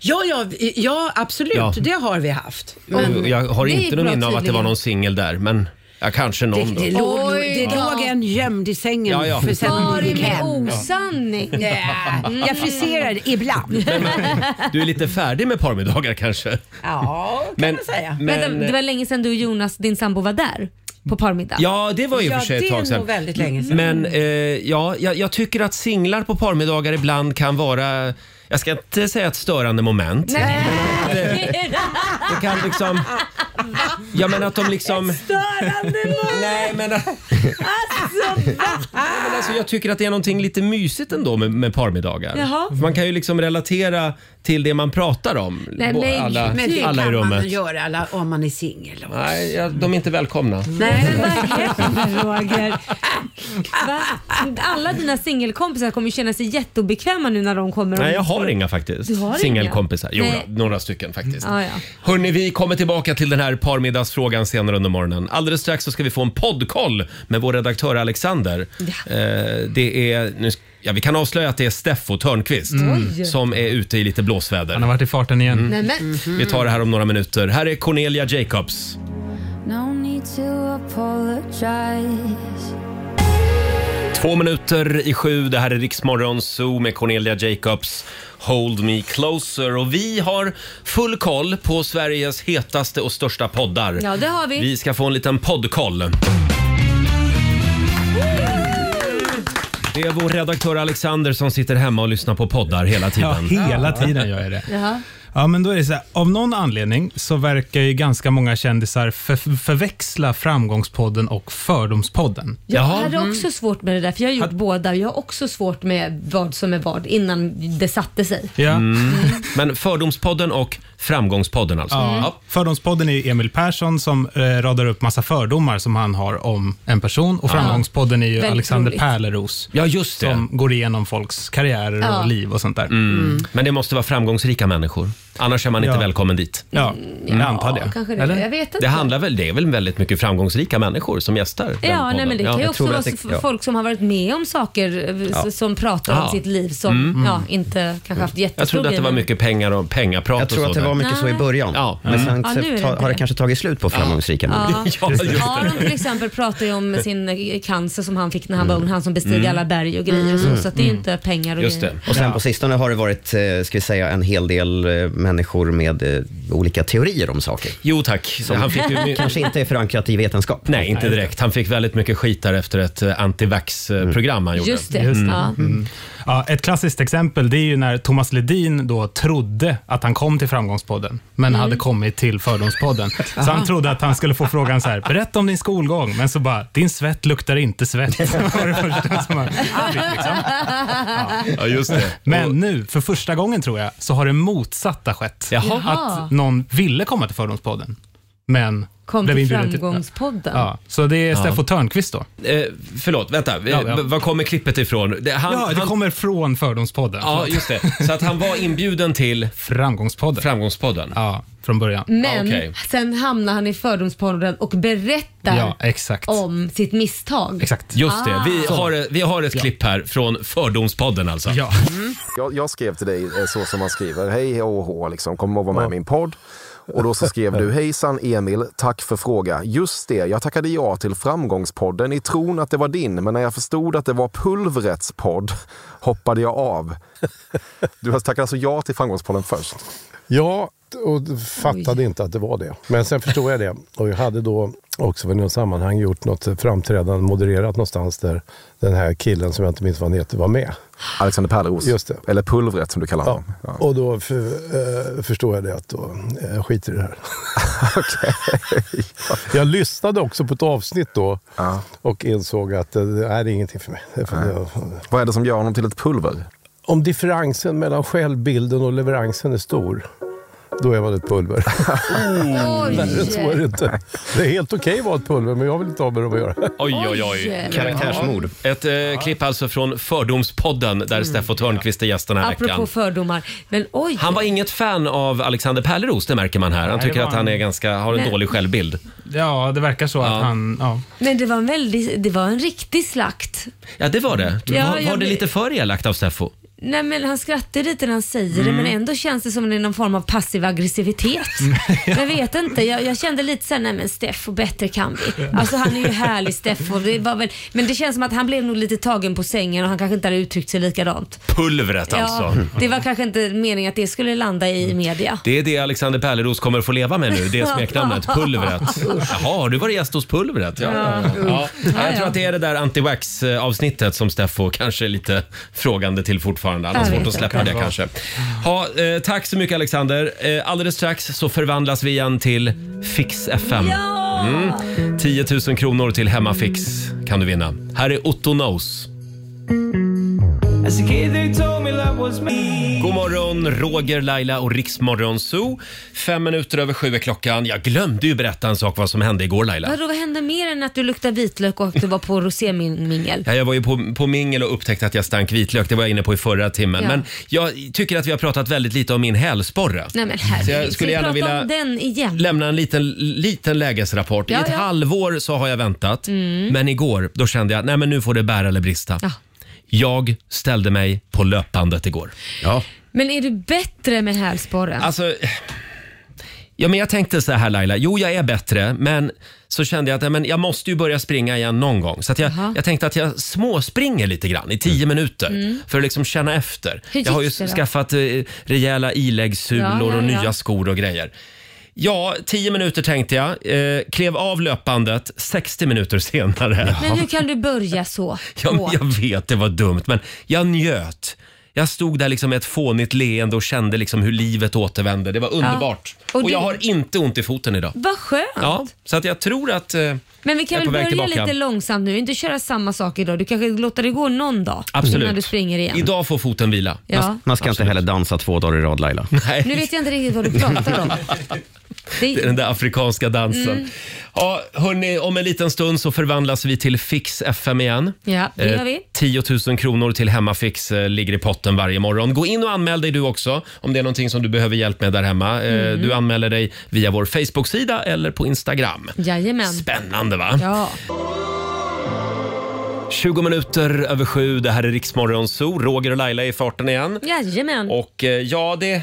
S5: Ja, ja, vi- ja absolut,
S1: Ja.
S5: det har vi haft.
S1: Och jag har
S2: det är
S1: inte någon
S2: bra
S1: minne av att det var
S2: tydligen.
S1: någon singel där, men ja, kanske
S5: Det,
S1: någon då.
S5: det, låg, nog-
S2: Oj
S5: det
S2: då.
S5: låg en gömd i sängen
S1: Ja, ja.
S5: för sen när
S2: Var
S5: hon gick
S2: det med
S5: hem.
S2: osanning?
S5: Nej, Jag friserar ibland.
S1: Du är lite färdig med parmiddagar kanske?
S5: Ja, kan man säga.
S1: men-
S2: Vänta, det var länge sedan du och Jonas, din sambo, var där på parmiddag.
S1: Ja, det var ju
S5: Ja,
S1: för sig ett
S5: det
S1: tag
S5: är
S1: sedan.
S5: nog väldigt länge sedan.
S1: Men eh, ja, jag, jag tycker att singlar på parmiddagar ibland kan vara jag ska inte säga ett störande moment.
S2: Nej.
S1: Mm. Det kan liksom... Ja men att de liksom...
S5: Störande var-
S1: Nej men... Alltså,
S2: Alltså,
S1: Nej, men alltså, jag tycker att det är någonting lite mysigt ändå med, med parmiddagar.
S2: Jaha.
S1: För Man kan ju liksom relatera till det man pratar om.
S2: Nej,
S1: bo-
S2: men-
S1: alla,
S5: Men
S1: alla
S5: det
S1: i
S5: kan man
S1: rummet.
S5: göra alla, om man är singel. och-
S1: Nej, ja, de är inte välkomna.
S2: Nej, men vad händer Roger? Va? Alla dina singelkompisar kommer ju känna sig jätteobekväma nu när de kommer.
S1: Nej, jag har inga faktiskt.
S2: Du har inga?
S1: Singelkompisar. Jo,
S2: Nej.
S1: då, några stycken faktiskt.
S2: Ja, ja.
S1: Hörni, vi kommer tillbaka till den här parmiddagsfrågan senare under morgonen. Alldeles strax så ska vi få en poddkoll med vår redaktör Alexander. Eh, det är, nu, sk- ja, vi kan avslöja att det är Steffo Törnqvist som är ute i lite blåsväder. Mm.
S8: Han har varit i farten igen.
S2: Nej, men,
S1: Vi tar det här om några minuter. Här är Cornelia Jacobs.
S9: No need to apologize.
S1: Två minuter i sju. Det här är Riksmorgon Zoo med Cornelia Jacobs. Hold me closer. Och vi har full koll på Sveriges hetaste och största poddar.
S2: ja, det har vi.
S1: Vi ska få en liten poddkoll. Det är vår redaktör Alexander som sitter hemma och lyssnar på poddar hela
S8: Ja,
S1: tiden.
S8: hela tiden gör jag det.
S2: Jaha.
S8: Ja, men då är det så här, av någon anledning så verkar ju ganska många kändisar för, förväxla Framgångspodden och Fördomspodden. Mm.
S2: Jag
S1: Jaha.
S2: hade också svårt med det där, för jag har gjort båda. Jag har också svårt med vad som är vad innan det satte sig.
S8: Ja.
S1: Mm. Men Fördomspodden och Framgångspodden alltså. Ja.
S8: Fördomspodden är ju Emil Persson som eh, radar upp massa fördomar som han har om en person och Framgångspodden är ju
S2: Väldigt
S8: Alexander
S2: roligt.
S8: Pärleros
S1: Ja, just det.
S8: som går igenom folks karriärer
S2: Ja. Mm.
S8: och liv och sånt där.
S1: Mm. Men det måste vara framgångsrika människor. Annars är man inte
S8: Ja.
S1: välkommen dit.
S8: Ja, jag antar det.
S2: Mm. kanske det.
S8: Eller?
S2: Jag vet inte.
S1: Det handlar väl, det är väl väldigt mycket framgångsrika människor som gästar? den
S2: Ja, nej,
S1: podden.
S2: men det kan ju
S1: jag
S2: också
S1: tror
S2: vara
S1: att det-
S2: f- folk som har varit med om saker eh, s- som pratar
S1: Ja. Mm.
S2: om sitt liv som ja, inte kanske haft jättestor
S1: Jag trodde att det
S2: del
S1: var
S2: i-
S1: mycket pengar och pengaprat
S6: Jag tror
S1: och
S6: att det var mycket så i
S2: Nej.
S6: början.
S1: Ja.
S6: Men sen
S2: Mm. Ja, nu är det
S6: ta,
S2: inte
S6: har det
S2: det.
S6: kanske tagit slut på framgångsrika människor.
S2: Ja.
S1: Ja, just det. Mm.
S2: Aron till exempel pratar ju om sin eh, cancer som han fick när han var ung. Han som besteg alla berg och grejer och så. Så att det är ju inte pengar och
S1: Mm. Just
S2: grejer.
S1: det.
S6: Och sen på sistone har det varit, eh, ska vi säga, en hel del eh, människor med eh, olika teorier om saker.
S1: Jo tack. Han fick ju my-
S6: Kanske inte är förankrat i vetenskap.
S1: Nej, inte direkt. Han fick väldigt mycket skit där efter ett eh,
S6: Mm.
S1: antivax-program han gjorde. Mm.
S2: Just det. Ja.
S8: Mm. Ja, ett klassiskt exempel det är ju när Thomas Ledin då trodde att han kom till Framgångspodden, men
S2: Mm.
S8: hade kommit till Fördomspodden. Så han trodde att han skulle få frågan så här, berätta om din skolgång, men så bara, din svett luktar inte svett. Det var det första som han fick, liksom.
S1: Ah, Ja, just det.
S8: Men nu, för första gången tror jag, så har det motsatta skett.
S1: Jaha.
S8: Att någon ville komma till Fördomspodden, men
S2: Kom
S8: blev
S2: till
S8: inbjuden till-
S2: Framgångspodden.
S8: Ja, så det är Steffo Törnqvist då.
S1: Eh, förlåt, vänta. Eh,
S8: Ja, ja.
S1: b- Var kommer klippet ifrån? Det, han,
S8: Ja, det
S1: han-
S8: kommer från Fördomspodden.
S1: ja, just det. Så att han var inbjuden till
S8: Framgångspodden.
S1: Framgångspodden.
S8: Ja, från början.
S2: Men
S1: Ja, okej.
S2: sen hamnar han i Fördomspodden och berättar
S8: Ja, exakt.
S2: om sitt misstag. Ah.
S8: Exakt.
S1: Just det. Vi har, vi har ett klipp här från Fördomspodden alltså.
S8: Ja.
S10: Jag, jag skrev till dig eh, så som man skriver. Hej och hå, liksom. kom och var med i min podd. Och då så skrev du, hejsan Emil, tack för fråga. Just det, jag tackade ja till Framgångspodden i tron att det var din, men när jag förstod att det var Pulvrets podd hoppade jag av. Du tackade alltså ja till Framgångspodden först.
S11: Ja, och fattade inte att det var det. Men sen förstod jag det. Och jag hade då också i något sammanhang gjort något framträdande, modererat någonstans där den här killen, som jag inte minns vad han heter, var med.
S10: Alexander Pärleros.
S11: Just det.
S10: Eller Pulvret som du kallar honom.
S11: Och då för, eh, förstår jag det att då, eh, jag skiter i det här. jag lyssnade också på ett avsnitt då och insåg att eh, det här är ingenting för mig. Det är för- jag-
S10: Vad är det som gör honom till ett pulver?
S11: Om differensen mellan självbilden och leveransen är stor, då är man ett pulver.
S1: Mm.
S2: Oj.
S11: Värre än så är det inte. Det är helt okej att vara ett pulver, men jag vill inte ha med dem att göra.
S1: Oj, oj, oj.
S2: Oj.
S1: Karaktärsmord. Ett eh, klipp alltså från Fördomspodden där Steffo Törnqvist är gäst den här
S2: Mm. Apropå
S1: veckan.
S2: fördomar. Men oj.
S1: Han var inget fan av Alexander Pärleros, det märker man här. Han
S8: Nej, det
S1: tycker
S8: var
S1: att han
S8: han.
S1: är ganska, har en
S2: Nej.
S1: dålig självbild.
S8: Ja, det verkar så att han... Ja.
S2: Men det var en väldigt, det var en riktig slakt.
S1: Ja, det var det.
S2: Ja,
S1: var, var
S2: jag
S1: det
S2: blir-
S1: lite för elakt av Steffo?
S2: Nej men han skrattar lite när han säger det
S8: Mm.
S2: men ändå känns det som det är någon form av passiv aggressivitet. Jag vet inte, jag, jag kände lite såhär, nej men Steff och bättre kan vi. Alltså han är ju härlig Steff och det var väl, men det känns som att han blev nog lite tagen på sängen och han kanske inte hade uttryckt sig likadant.
S1: Pulvret alltså. Mm.
S2: Ja, Mm. det var kanske inte meningen att det skulle landa i media.
S1: Det är det Alexander Pärleros kommer få leva med nu, det smeknamnet. Pulvret. Jaha, har du varit gäst hos Pulvret? Ja. Ja.
S2: Ja,
S1: Jag
S2: ja.
S1: tror att det är det där anti-wax avsnittet som Steffo kanske är lite frågande till fortfarande. Han har
S2: Jag
S1: svårt
S2: vet
S1: att släppa det
S8: inte.
S1: kanske. Ha, eh, tack så mycket Alexander. Eh, alldeles strax så förvandlas vi igen till Fix FM.
S2: Ja!
S1: 10 000 kronor till Hemmafix kan du vinna. Här är Otto Knows. God morgon, Roger, Laila och Riksmorgon Zoo. Fem minuter över sju är klockan. Jag glömde ju berätta en sak vad som hände igår Laila.
S2: Vadå, vad hände mer än att du luktar vitlök och att du var på rosémingel?
S1: Ja, jag var ju på, på mingel och upptäckte att jag stank vitlök. Det var jag inne på i förra timmen.
S2: Ja.
S1: Men jag tycker att vi har pratat väldigt lite om min hälsporre.
S2: Nej men
S1: Så
S2: herregud,
S1: jag
S2: ska
S1: skulle
S2: vi
S1: gärna
S2: prata
S1: vilja
S2: om den igen?
S1: lämna en liten, liten lägesrapport.
S2: Ja,
S1: I ett
S2: ja.
S1: halvår så har jag väntat. Men igår då kände jag nej men nu får det bära eller brista.
S2: Ja.
S1: Jag ställde mig på löpbandet igår.
S6: Ja.
S2: Men är du bättre med hälsporren?
S1: Alltså, ja, men jag tänkte så här Laila, jo jag är bättre men så kände jag att nej, men jag måste ju börja springa igen någon gång. Så att jag,
S2: Jaha.
S1: jag tänkte att jag småspringer lite grann i tio minuter för att liksom känna efter.
S2: Mm. Hur
S1: jag har ju
S2: gick det då?
S1: skaffat eh, rejäla iläggssulor
S2: Ja, ja,
S1: och
S2: ja.
S1: nya skor och grejer. Ja, tio minuter tänkte jag. Eh, klev av löpbandet 60 minuter senare.
S2: Men hur kan du börja så?
S1: Ja, men
S2: Åh.
S1: jag vet, det var dumt, men jag njöt. Jag stod där liksom med ett fånigt leende och kände liksom hur livet återvände. Det var underbart.
S2: Och
S1: Och, jag
S2: det-
S1: har inte ont i foten idag.
S2: Vad skönt.
S1: Ja, så att jag tror att... Eh,
S2: Men vi
S1: Jag
S2: kan
S1: är
S2: väl
S1: på väg
S2: börja
S1: tillbaka.
S2: lite långsamt nu, inte köra samma sak idag. Du kanske låter det gå någon dag
S1: absolut.
S2: innan du springer igen.
S1: Idag får foten vila.
S2: Ja.
S6: Man ska inte heller dansa två dagar i rad Laila.
S1: Nej,
S2: Nu vet jag inte riktigt vad du pratar om. Det
S1: det är
S2: är,
S1: den där afrikanska dansen.
S2: Mm.
S1: Ja, hörni, om en liten stund så förvandlas vi till Fix FM igen.
S2: ja, det gör vi.
S1: 10 000 kronor till Hemmafix eh, ligger i potten varje morgon. Gå in och anmäl dig du också om det är någonting som du behöver hjälp med där hemma. Eh,
S2: Mm.
S1: Du anmäler dig via vår Facebook-sida eller på Instagram.
S2: Jajamän.
S1: Spännande va?
S2: Ja.
S1: 20 minuter över sju, det här är Riksmorgon Zoo. Roger och Laila är i farten igen.
S2: Jajamän.
S1: Och eh, ja, det,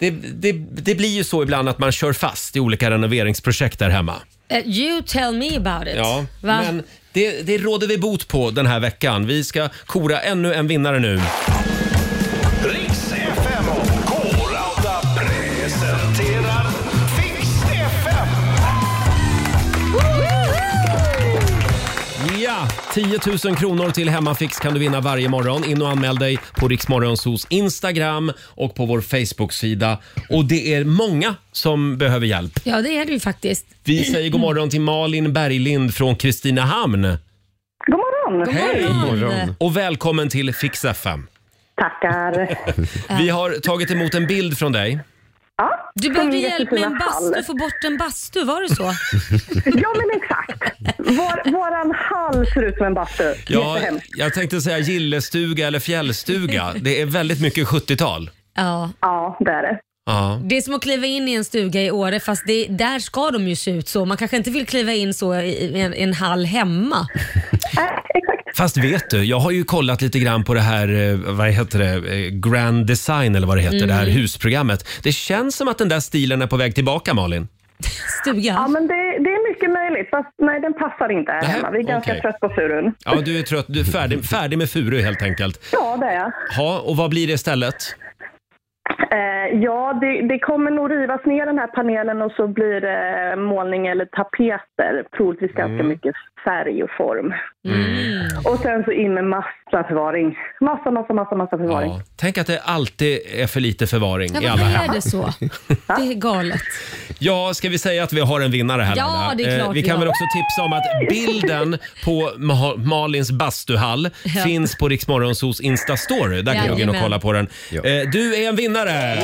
S1: det, det, det blir ju så ibland att man kör fast i olika renoveringsprojekt där hemma.
S2: Eh, you tell me about it.
S1: Ja,
S2: Va?
S1: men det, det råder vi bot på den här veckan. Vi ska kora ännu en vinnare nu.
S3: Riks FM och K-Rauta presenterar Fix FM.
S1: Ja, 10 000 kronor till Hemmafix kan du vinna varje morgon. In och anmäl dig på Riksmorgonsos Instagram och på vår Facebook-sida. Och det är många som behöver hjälp.
S2: ja, det är det ju faktiskt.
S1: Vi säger god morgon till Malin Berglind från Kristinehamn.
S4: God morgon!
S1: Hej!
S2: Morgon.
S1: Och välkommen till Fix FM.
S4: Tackar.
S1: Vi har tagit emot en bild från dig.
S4: Ja,
S2: Du behövde
S4: Som
S2: hjälp med
S4: Josefina
S2: en bastu,
S4: Hall.
S2: få bort en bastu, var det så?
S4: ja men exakt. Vår, våran hall ser ut som en bastu.
S1: Ja,
S4: Jättehemskt.
S1: jag tänkte säga gillestuga eller fjällstuga. Det är väldigt mycket 70-tal.
S2: Ja.
S4: Ja, det är det.
S1: Ja.
S2: Det är som att kliva in i en stuga i Åre fast det, där ska de ju se ut så. Man kanske inte vill kliva in så i, i en, en hall hemma.
S4: Nej, exakt.
S1: Fast vet du, jag har ju kollat lite grann på det här, eh, vad heter det, Eh, Grand Design eller vad det heter, det
S2: Mm.
S1: här husprogrammet. Det känns som att den där stilen är på väg tillbaka Malin.
S4: Ja,
S2: Stuga.
S4: men det, det är mycket möjligt. Fast nej, den passar inte här
S1: Nej,
S4: hemma. Vi är ganska
S1: okej.
S4: trött på furun.
S1: Ja, du är trött, du är färdig, färdig med furu helt enkelt.
S4: Ja, det är jag.
S1: Ja, och vad blir det istället?
S4: Eh, ja, det, det kommer nog rivas ner den här panelen och så blir det målning eller tapeter. Troligtvis ganska mycket färg och form. Och sen så in med massa förvaring. Massa, massa, massa, massa förvaring.
S1: Ja. Tänk att det alltid är för lite förvaring
S2: Ja,
S1: i alla
S2: varför är
S1: hem.
S2: det så? Det är galet.
S1: Ja, ska vi säga att vi har en vinnare här
S2: Ja,
S1: Laila? Eh,
S2: det är klart
S1: Vi
S2: vi
S1: kan
S2: har.
S1: väl också tipsa om att bilden på Ma- Malins bastuhall
S2: Ja.
S1: finns på Riksmorgonsos Insta-story. Där kan du gå in och
S2: Jajamän.
S1: kolla på den. Eh, Du är en vinnare!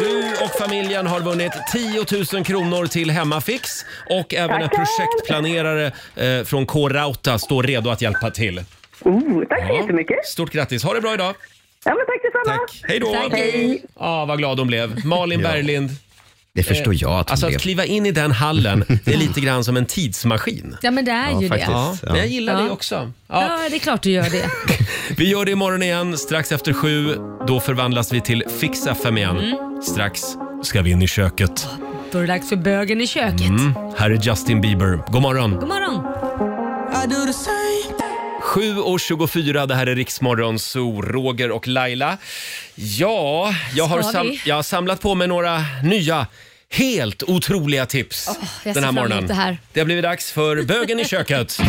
S1: Du och familjen har vunnit 10 000 kronor till Hemmafix och även en projektplanerare eh, från K-Rauta står redo att hjälpa till.
S4: Oh, tack
S1: så jättemycket! Stort grattis! Ha det bra idag!
S4: Ja, men tack detsamma.
S1: Hej då!
S4: Tack, hej.
S1: Ah, vad glad hon blev. Malin Berglind.
S6: Det förstår jag att hon
S1: Alltså
S6: blev.
S1: att kliva in i den hallen, det är lite grann som en tidsmaskin.
S2: Ja men det är
S1: Ja,
S2: ju
S1: faktiskt,
S2: det.
S1: ja. Men jag gillar det också.
S2: Ja. det är klart du gör det.
S1: Vi gör det imorgon igen, strax efter sju. Då förvandlas vi till Fix FM igen.
S2: Mm.
S1: Strax ska vi in i köket.
S2: Då är det dags för bögen i köket.
S1: Mm. Här är Justin Bieber. God morgon!
S2: God morgon.
S1: 7.24, det här är Riksmorgon, Zoo, Roger och Laila. Ja, jag har,
S2: Ska
S1: sam-
S2: vi?
S1: jag har samlat på mig några nya helt otroliga tips
S2: Åh,
S1: den
S2: jag ser
S1: här
S2: fram emot
S1: morgonen.
S2: det här.
S1: har blivit dags för Bögen i köket.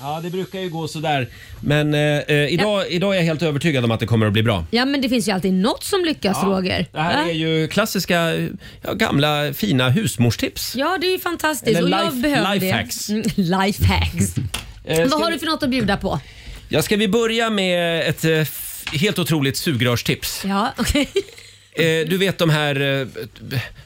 S1: Ja, det brukar ju gå sådär. Men eh, eh, idag, idag är jag helt övertygad om att det kommer att bli bra.
S2: Ja men det finns ju alltid något som lyckas Roger.
S1: Det här
S2: Ja.
S1: är ju klassiska, ja, gamla fina husmorstips.
S2: Ja det är ju fantastiskt
S1: Eller
S2: och jag
S1: life-
S2: behöver
S1: lifehacks.
S2: det. Mm, Lifehacks.
S1: Eh,
S2: Vad
S1: ska
S2: har
S1: vi-
S2: du för något att bjuda på?
S1: Ja, ska vi börja med ett eh, f- helt otroligt sugrörstips?
S2: Ja okej.
S1: Eh, du vet de här eh,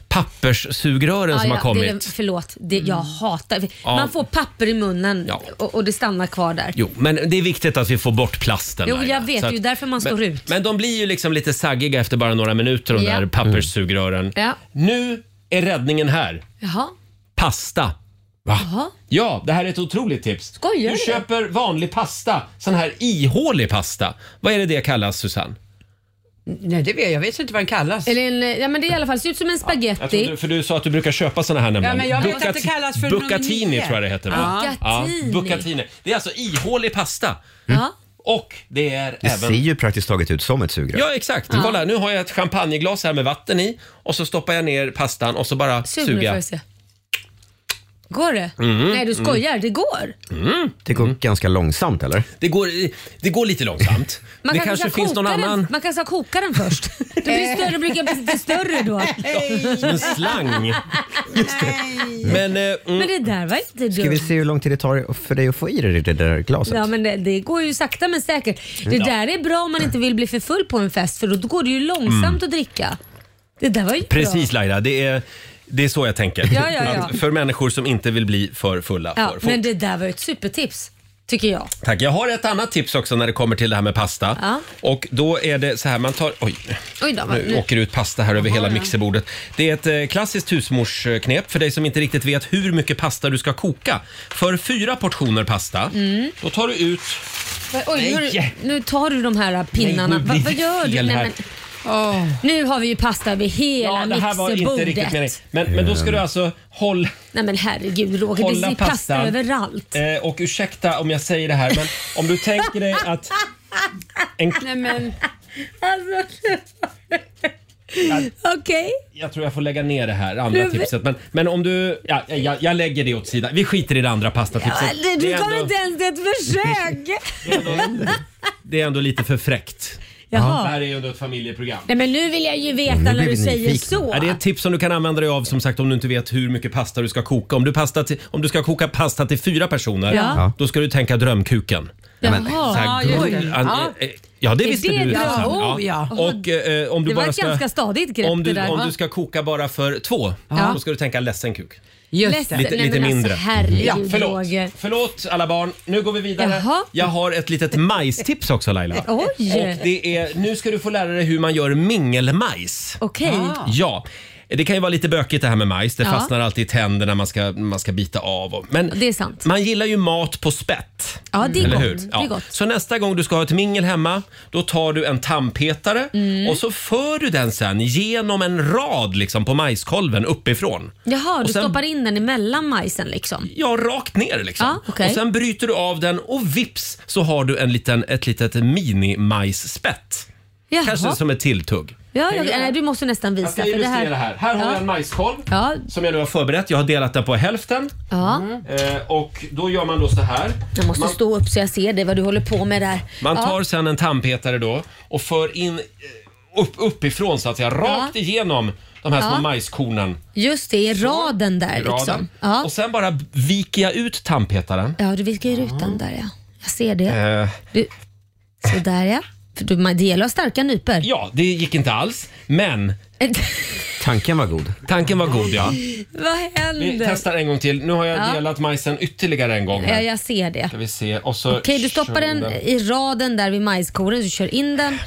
S1: papperssugrören
S2: Ja,
S1: som
S2: ja,
S1: har kommit. Mm.
S2: Det, förlåt, det, jag hatar.
S1: Ja.
S2: Man får papper i munnen och, och det stannar kvar där.
S1: Jo, men det är viktigt att vi får bort plasten.
S2: Jo,
S1: Laila.
S2: jag vet.
S1: Så
S2: Det är ju därför man står
S1: men,
S2: ut.
S1: Men de blir ju liksom lite saggiga efter bara några minuter, de
S2: Ja.
S1: där papperssugrören.
S2: Ja.
S1: Nu är räddningen här.
S2: Jaha.
S1: Pasta. Va?
S2: Jaha.
S1: Ja, det här är ett otroligt tips.
S2: Skojar
S1: du
S2: du?
S1: köper vanlig pasta, sån här ihålig pasta. Vad är det det kallas, Susanne?
S5: Nej, det vet jag. vet inte vad den kallas.
S2: Eller en, ja, men det är i alla fall ser ut som en
S1: Jag
S2: spagetti.
S1: trodde, för du sa att du brukar köpa såna här nämligen.
S5: men jag vet att
S1: Buccat-
S5: det kallas för
S1: Bucatini
S5: nominé.
S1: tror jag det heter. va?
S5: Ja.
S2: Bucatini. Mm.
S1: bucatini. Det är alltså ihålig pasta.
S2: Ja.
S1: Och det är
S6: Det
S1: även...
S6: ser ju praktiskt taget ut som ett sugrör.
S1: Ja, exakt.
S2: Ja.
S1: Kolla, nu har jag ett champagneglas här med vatten i och så stoppar jag ner pastan och så bara
S2: Sug nu får
S1: suger
S2: vi
S1: jag.
S2: se. Går det?
S1: Mm,
S2: Nej, du
S1: mm.
S2: skojar. Det går.
S1: Mm.
S6: Det går ganska långsamt eller?
S1: Det går, det går lite långsamt.
S2: Man
S1: det
S2: kan
S1: kanske
S2: koka
S1: finns någon
S2: den.
S1: annan...
S2: Man kan så koka den först. Det blir större, brukar bli lite större då.
S1: Som en slang. Men, eh, mm.
S2: Men det där var inte dumt.
S6: Ska vi se hur lång tid det tar för dig att få i dig det där glaset?
S2: Ja, men det, det går ju sakta men säkert. Det
S6: Ja.
S2: där är bra om man inte vill bli för full på en fest för då går det ju långsamt
S1: Mm.
S2: att dricka. Det där var ju
S1: Precis
S2: bra.
S1: Laila, det är, det är så jag tänker.
S2: Ja, ja, ja.
S1: Att För människor som inte vill bli för fulla.
S2: Ja,
S1: för fort.
S2: men det där var ju ett supertips, tycker jag.
S1: Tack. Jag har ett annat tips också när det kommer till det här med pasta.
S2: Ja.
S1: Och då är det så här, man tar... Oj,
S2: Oj då, vad-
S1: nu
S2: nu-
S1: åker det ut pasta här över hela
S2: ja.
S1: mixerbordet. Det är ett eh, klassiskt husmorsknep för dig som inte riktigt vet hur mycket pasta du ska koka. För fyra portioner pasta,
S2: Mm.
S1: då tar du ut...
S2: Oj, nu,
S1: Nej.
S2: nu tar du de här äh, pinnarna.
S1: Nej, nu
S2: Va,
S1: blir
S2: vad
S1: det
S2: gör du?
S1: fel här.
S2: Nej, men, Nu har vi ju pasta över hela
S1: Ja, det här var inte riktigt meningen.
S2: mixerbordet.
S1: Men, men då ska du alltså hålla...
S2: Nej men herregud Roger, det
S1: Hålla
S2: är pasta
S1: pastan.
S2: överallt.
S1: Eh, och ursäkta om jag säger det här, men om du tänker dig att... En,
S5: Nej, men...
S2: Alltså, okej.
S1: Jag tror jag får lägga ner det här andra
S2: Du-
S1: tipset. Men, men om du... Ja, jag, jag lägger det åt sidan. Vi skiter i det andra pastatipset.
S2: Ja, det-
S1: Typ det,
S2: Du
S1: är
S2: gav
S1: ändå,
S2: inte ens ett försök.
S1: det är ändå lite för fräckt.
S2: Jaha.
S1: Det här är ju ändå ett familjeprogram.
S2: Nej men nu vill jag ju
S1: Mm,
S2: veta när du säger så.
S1: Ja, det är ett tips som du kan använda dig av som sagt om du inte vet hur mycket pasta du ska koka. Om du, pasta till, om du ska koka pasta till fyra personer,
S2: Ja.
S1: då ska du tänka drömkuken.
S2: Jaha.
S1: så här,
S2: Ja, just
S1: gul-
S2: det.
S1: an-
S2: Ja.
S1: eh, eh, ja, det
S2: Är
S1: visste
S2: det
S1: du.
S2: bra?
S1: Susanne.
S2: Oh, ja.
S1: Och, eh, om du
S2: Det var
S1: bara
S2: ett
S1: ska,
S2: ganska stadigt grepp,
S1: om du,
S2: det där,
S1: Om
S2: va?
S1: du ska koka bara för två,
S2: Ja.
S1: då ska du tänka ledsen kuk.
S2: Just
S1: det.
S2: det.
S1: Lite-
S2: Nej,
S1: lite
S2: men
S1: mindre.
S2: Alltså, herregud,
S1: Ja, förlåt.
S2: Roger.
S1: Förlåt alla barn, nu går vi vidare.
S2: Jaha.
S1: Jag har ett litet majstips också Laila.
S2: Oj. Ah.
S1: Och det är, nu ska du få lära dig hur man gör mingelmajs.
S2: Okej.
S1: Ja. Det kan ju vara lite bökigt det här med majs. Det
S2: Ja.
S1: fastnar alltid i tänderna, man ska, man ska bita av. Och, men
S2: Det är sant.
S1: man gillar ju mat på spett.
S2: Ja, det är
S1: Eller
S2: gott.
S1: hur?
S2: Det är gott.
S1: Så nästa gång du ska ha ett mingel hemma, då tar du en tandpetare
S2: Mm.
S1: och så för du den sen genom en rad liksom på majskolven uppifrån.
S2: Jaha,
S1: Och
S2: du
S1: sen-
S2: stoppar in den emellan majsen liksom?
S1: Ja, rakt ner liksom.
S2: Ja, okej.
S1: Och sen bryter du av den och vips så har du en liten, ett litet mini-majsspett.
S2: Jaha.
S1: Kanske som ett tilltugg.
S2: Ja, jag, nej, du måste nästan visa.
S1: Jag ska
S2: för
S1: illustrera här. Här har jag en majskolv.
S2: Ja.
S1: Som jag nu har förberett. Jag har delat den på hälften.
S2: Ja.
S1: Eh, och då gör man då så här.
S2: Jag måste
S1: Man-
S2: stå upp så jag ser det vad du håller på med där.
S1: Man
S2: Ja.
S1: tar sen en tandpetare då och för in eh, upp, uppifrån så att säga, rakt
S2: Ja.
S1: igenom de här små
S2: Ja.
S1: majskornen.
S2: Just det, i raden där
S1: i raden.
S2: liksom. Ja.
S1: Och sen bara viker jag ut tandpetaren.
S2: ja, du viker ut den där ja. Jag ser det.
S1: Eh,
S2: Du... Sådär ja. För du, man- det gäller att ha starka nypor.
S1: ja, det gick inte alls, men... Tanken var god. Tanken var god, ja.
S2: vad
S1: Vi
S2: händer?
S1: testar en gång till. Nu har jag
S2: Ja.
S1: delat majsen ytterligare en gång.
S2: Ja,
S1: Här.
S2: jag ser det.
S1: Ska vi se. Och så
S2: Okej, du stoppar
S1: kör
S2: den i raden där vid majskornen. Du kör in den.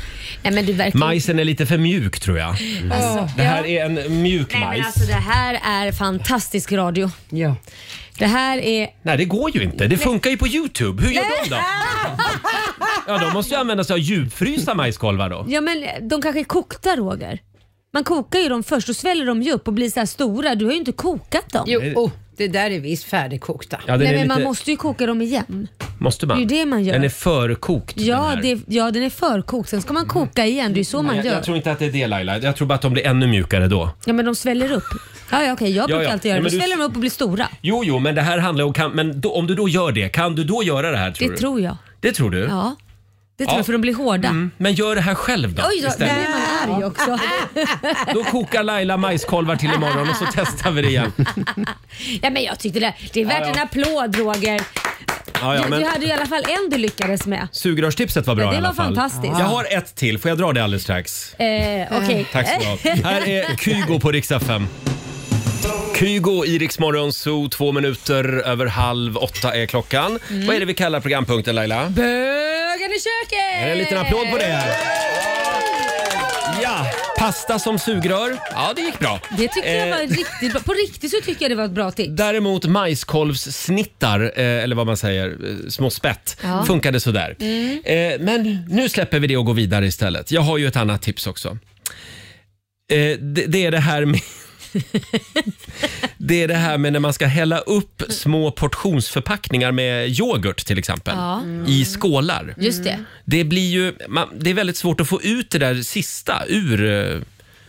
S2: Nej, men du verkar...
S1: Majsen är lite för mjuk tror jag.
S2: Alltså,
S1: det här
S2: ja.
S1: är en mjuk
S2: Nej, men
S1: majs.
S2: alltså det här är fantastisk radio.
S5: Ja.
S2: Det här är...
S1: Nej, det går ju inte. Det funkar ju på YouTube. Hur gör
S2: Nej.
S1: de då? Ja, de måste ju använda sig av djupfrysta majskolvar då.
S2: Ja men de kanske är kokta Roger. Man kokar ju dem först och sväller de ju upp och blir så här stora. Du har ju inte kokat dem.
S5: Jo, oh, det där är visst färdigkokta.
S1: Ja, den
S2: Nej
S1: är
S2: men man
S1: lite-
S2: måste ju koka dem igen.
S1: Måste man?
S2: Det är ju det man gör.
S1: Den är förkokt.
S2: Ja,
S1: den här. Mm.
S2: det, ja den är förkokt, sen ska man koka igen. Det är ju så man
S1: jag,
S2: gör.
S1: jag tror inte att det är det Laila. Jag tror bara att de blir ännu mjukare då.
S2: Ja men de sväller upp. Ja, ja okej, jag brukar
S1: Ja, ja.
S2: alltid
S1: Ja,
S2: göra det.
S1: men
S2: Då
S1: du-
S2: sväller de upp och blir stora.
S1: Jo, jo, men det här handlar om... Kan, men då, om du då gör det, kan du då göra det här tror
S2: det
S1: du?
S2: tror jag.
S1: Det tror du?
S2: Ja. Det tror
S1: Ja.
S2: jag för de blir hårda.
S1: Mm, men gör det här själv då
S2: Oj då, där
S1: istället.
S2: är man arg också.
S1: Då kokar Laila majskolvar till imorgon och så testar vi det igen.
S2: ja, men jag tyckte det, det är värt
S1: Ja, ja.
S2: en applåd Roger.
S1: Ja, ja,
S2: du,
S1: men
S2: du hade i alla fall en du lyckades med.
S1: sugrörstipset var bra
S2: Ja, det
S1: i alla
S2: var
S1: fall.
S2: fantastiskt.
S1: Jag har ett till, får jag dra det alldeles strax?
S2: Eh, okej.
S1: Tack ska du ha. Här är Kygo på riksdag 5. Kygo i Rix Morgon Zoo, två minuter över halv åtta är klockan.
S2: Mm.
S1: Vad är det vi kallar programpunkten Laila?
S2: Bögen i köket!
S1: Är det en liten applåd på det här? Ja, pasta som sugrör. Ja, det gick bra.
S2: Det tycker jag var
S1: Eh,
S2: riktigt bra. På riktigt så tycker jag det var ett bra tips.
S1: Däremot majskolvssnittar, eh, eller vad man säger, eh, små spett,
S2: Ja.
S1: funkade sådär.
S2: Mm.
S1: Eh, Men nu släpper vi det och går vidare istället. Jag har ju ett annat tips också. Eh, Det, det är det här med... det är det här med när man ska hälla upp små portionsförpackningar med yoghurt till exempel
S2: Ja. Mm.
S1: i skålar.
S2: Just det.
S1: Det blir ju, man, det är väldigt svårt att få ut det där sista ur, eh,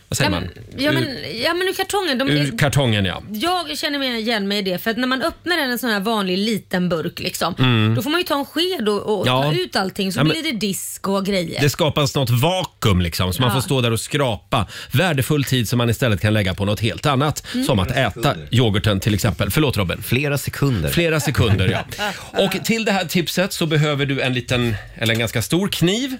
S1: vad säger man?
S2: Ja men,
S1: ur,
S2: ja, men ur kartongen. De,
S1: ur kartongen ja.
S2: jag känner mig igen mig i det för att när man öppnar en sån här vanlig liten burk liksom,
S1: Mm.
S2: då får man ju ta en sked och, och
S1: Ja.
S2: ta ut allting så
S1: Ja, men-
S2: blir det disk och grejer.
S1: Det skapas något vakuum liksom så man
S2: Ja.
S1: får stå där och skrapa. Värdefull tid som man istället kan lägga på något helt annat.
S2: Mm.
S1: Som att äta yoghurten till exempel. Förlåt Robin. Flera sekunder. Flera sekunder ja. Och till det här tipset så behöver du en liten, eller en ganska stor kniv.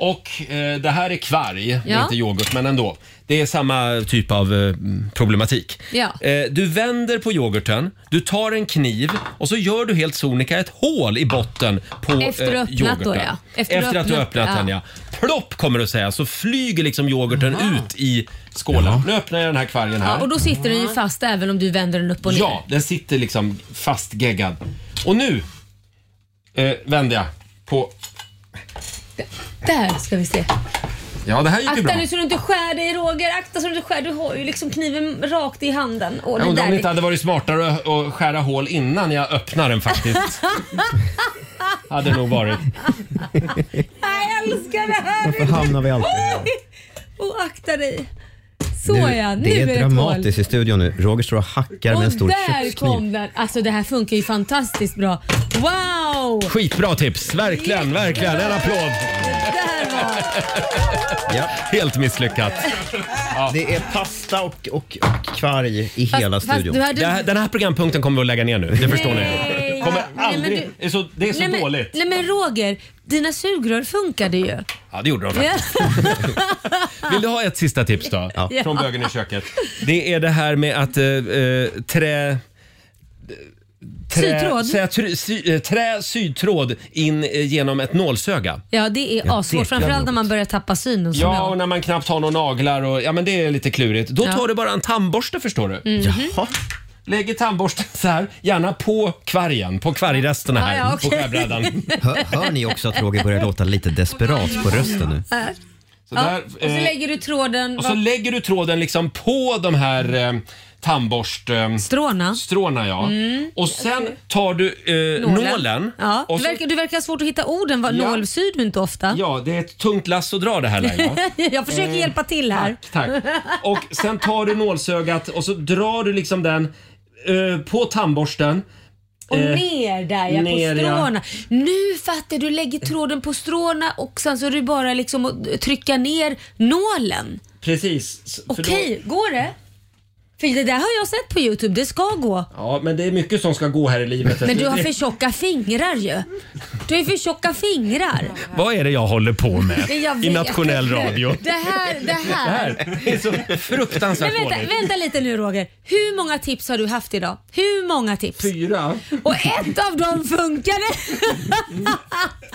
S1: Och eh, det här är kvarg, det är
S2: Ja.
S1: inte yoghurt men ändå. Det är samma typ av eh, problematik.
S2: Ja.
S1: Eh, du vänder på yoghurten, du tar en kniv och så gör du helt sonika ett hål i botten på
S2: Efter du
S1: eh,
S2: öppnat
S1: yoghurten.
S2: då, ja.
S1: Efter, att du öppnat den ja. Plopp kommer du säga så flyger liksom yoghurten ut i skålen. Nu öppnar jag den här kvargen här.
S2: Ja, och då sitter den ju fast även om du vänder den upp och ner.
S1: Ja, den sitter liksom fastgeggad. Och nu eh, vänder jag på...
S2: Där ska vi se.
S1: Ja, det här gick ju bra.
S2: Akta nu så du inte skär dig Roger, akta så du inte skär dig. Du har ju liksom kniven rakt i handen. Och
S1: Jag undrar
S2: det
S1: om
S2: där
S1: det
S2: är-
S1: inte hade varit smartare att- att skära hål innan jag öppnar den faktiskt. hade nog varit.
S2: Jag älskar det här!
S6: Varför hamnar vi alltid här?
S2: Oj! Och akta dig. Så ja, nu
S6: det
S2: är
S6: är,
S2: det ett hål.
S6: dramatiskt i studion nu. Roger står och hackar med en
S2: Och
S6: stor
S2: där
S6: kökskniv.
S2: kom den. Alltså det här funkar ju fantastiskt bra. Wow!
S1: Skitbra tips, verkligen, verkligen. En applåd.
S2: Där var...
S1: Helt misslyckat.
S6: Det är pasta och, och, och kvarg i
S1: Fast-
S6: hela
S1: fast
S6: studion.
S1: du hade- Det här- den här programpunkten kommer vi att lägga ner nu, det förstår
S2: Nej.
S1: ni. Kommer
S2: Nej, men
S1: aldrig...
S2: du-
S1: det är så, det är så
S2: nej, men,
S1: dåligt.
S2: Nej men Roger, dina sugrör funkade ju.
S1: Ja, det gjorde de faktiskt. Vill du ha ett sista tips då?
S2: Ja.
S1: Från bögen i köket. Det är det här med att eh, eh, trä... Trä,
S2: Sytråd.
S1: Så här, tr- sy, eh, trä, sydtråd in eh, genom ett nålsöga.
S2: Ja, det är
S1: Ja, det är
S2: assvårt. Framförallt när man börjar tappa synen. som
S1: Ja,
S2: jag.
S1: och när man knappt har några naglar och ja, men det är lite klurigt. Då
S2: Ja.
S1: tar du bara en tandborste förstår du.
S2: Mhm.
S1: Lägger tandborsten så här, gärna på kvargen, på kvargresterna här
S2: Ja, ja, okej.
S1: på skärbrädan.
S6: Hör, hör ni också att Roger börjar låta lite desperat på rösten nu?
S2: Här.
S1: Så
S2: Äh. ja.
S1: där,
S2: och så
S1: eh,
S2: lägger du tråden...
S1: Och så lägger du tråden liksom på de här eh, tandborst... Eh,
S2: stråna.
S1: Stråna ja.
S2: Mm.
S1: Och sen tar du eh, nålen.
S2: Nålen. Ja.
S1: Och
S2: Du,
S1: så,
S2: verkar, du verkar ha svårt att hitta orden. Vad,
S1: Ja.
S2: Nålsyd du inte ofta?
S1: ja, det är ett tungt lass att dra det här Laila.
S2: jag försöker
S1: Eh,
S2: hjälpa till här.
S1: Tack. Och sen tar du nålsögat och så drar du liksom den eh, på tandborsten.
S2: Och
S1: Eh,
S2: ner där ja,
S1: ner,
S2: på
S1: ja.
S2: stråna. Nu fattar du, lägger tråden på stråna och sen så är det bara liksom att trycka ner nålen.
S1: Precis. s- för då-
S2: Okej, går det? För det där har jag sett på Youtube, det ska gå.
S1: Ja, men det är mycket som ska gå här i livet.
S2: Men du har
S1: Det-
S2: för tjocka fingrar ju. Du har ju för tjocka fingrar.
S1: Vad är det jag håller på med
S2: Jag vet.
S1: i nationell radio?
S2: Det här, det
S1: Det
S2: här.
S1: här är så fruktansvärt
S2: Men vänta,
S1: dåligt.
S2: vänta lite nu Roger. Hur många tips har du haft idag? Hur många tips?
S1: Fyra.
S2: Och ett av dem funkade.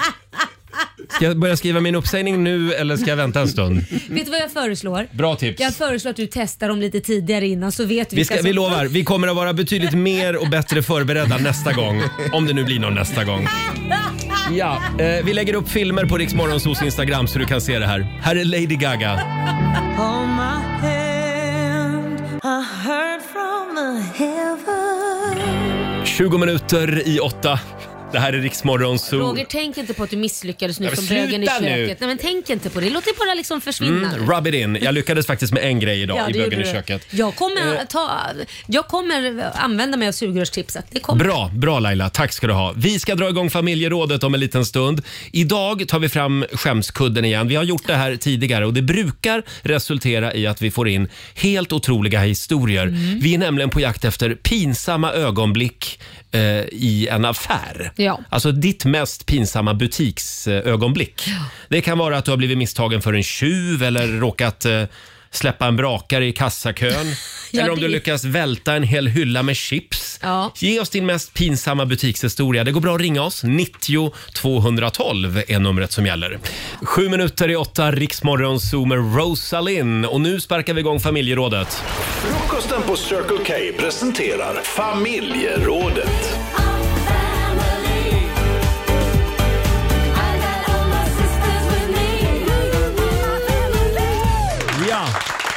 S1: Ska jag börja skriva min uppsägning nu eller ska jag vänta en stund?
S2: Vet du vad jag föreslår?
S1: Bra tips.
S2: Jag föreslår att du testar dem lite tidigare innan så vet du
S1: Vi, ska,
S2: vilka
S1: vi
S2: som-
S1: lovar, vi kommer att vara betydligt mer och bättre förberedda nästa gång. Om det nu blir någon nästa gång. Ja, eh, vi lägger upp filmer på Rix Morgonzos Instagram så du kan se det här. Här är Lady Gaga.
S3: Hold my hand, I heard from the heaven
S1: 20 minuter i åtta. Det här är Rix Morgonzoo.
S2: Roger, tänk inte på att du misslyckades nu
S1: Nej, men
S2: som bögen i
S1: sluta nu.
S2: köket. Nej, men tänk inte på det. Låt det bara liksom försvinna.
S1: Mm, rub it in. Jag lyckades faktiskt med en grej idag
S2: Ja,
S1: i
S2: det
S1: Bögen i
S2: gjorde du.
S1: köket. Eh.
S2: Jag kommer, att ta, jag kommer använda mig av sugrörstipset. Det kommer.
S1: Bra, bra Laila. Tack ska du ha. Vi ska dra igång familjerådet om en liten stund. Idag tar vi fram skämskudden igen. Vi har gjort det här tidigare och det brukar resultera i att vi får in helt otroliga historier.
S2: Mm.
S1: Vi är nämligen på jakt efter pinsamma ögonblick eh, i en affär.
S2: Ja.
S1: Alltså ditt mest pinsamma butiksögonblick. Det kan vara att du har blivit misstagen för en tjuv eller råkat eh, släppa en brakare i kassakön.
S2: Ja,
S1: eller om
S2: det-
S1: du lyckas välta en hel hylla med chips.
S2: Ja.
S1: Ge oss din mest pinsamma butikshistoria. Det går bra att ringa oss. 90 212 är numret som gäller. Sju minuter i åtta, Riksmorgon Zoom med Rosalind. Och nu sparkar vi igång familjerådet.
S3: Frukosten på Circle K presenterar Familjerådet.
S1: Ja.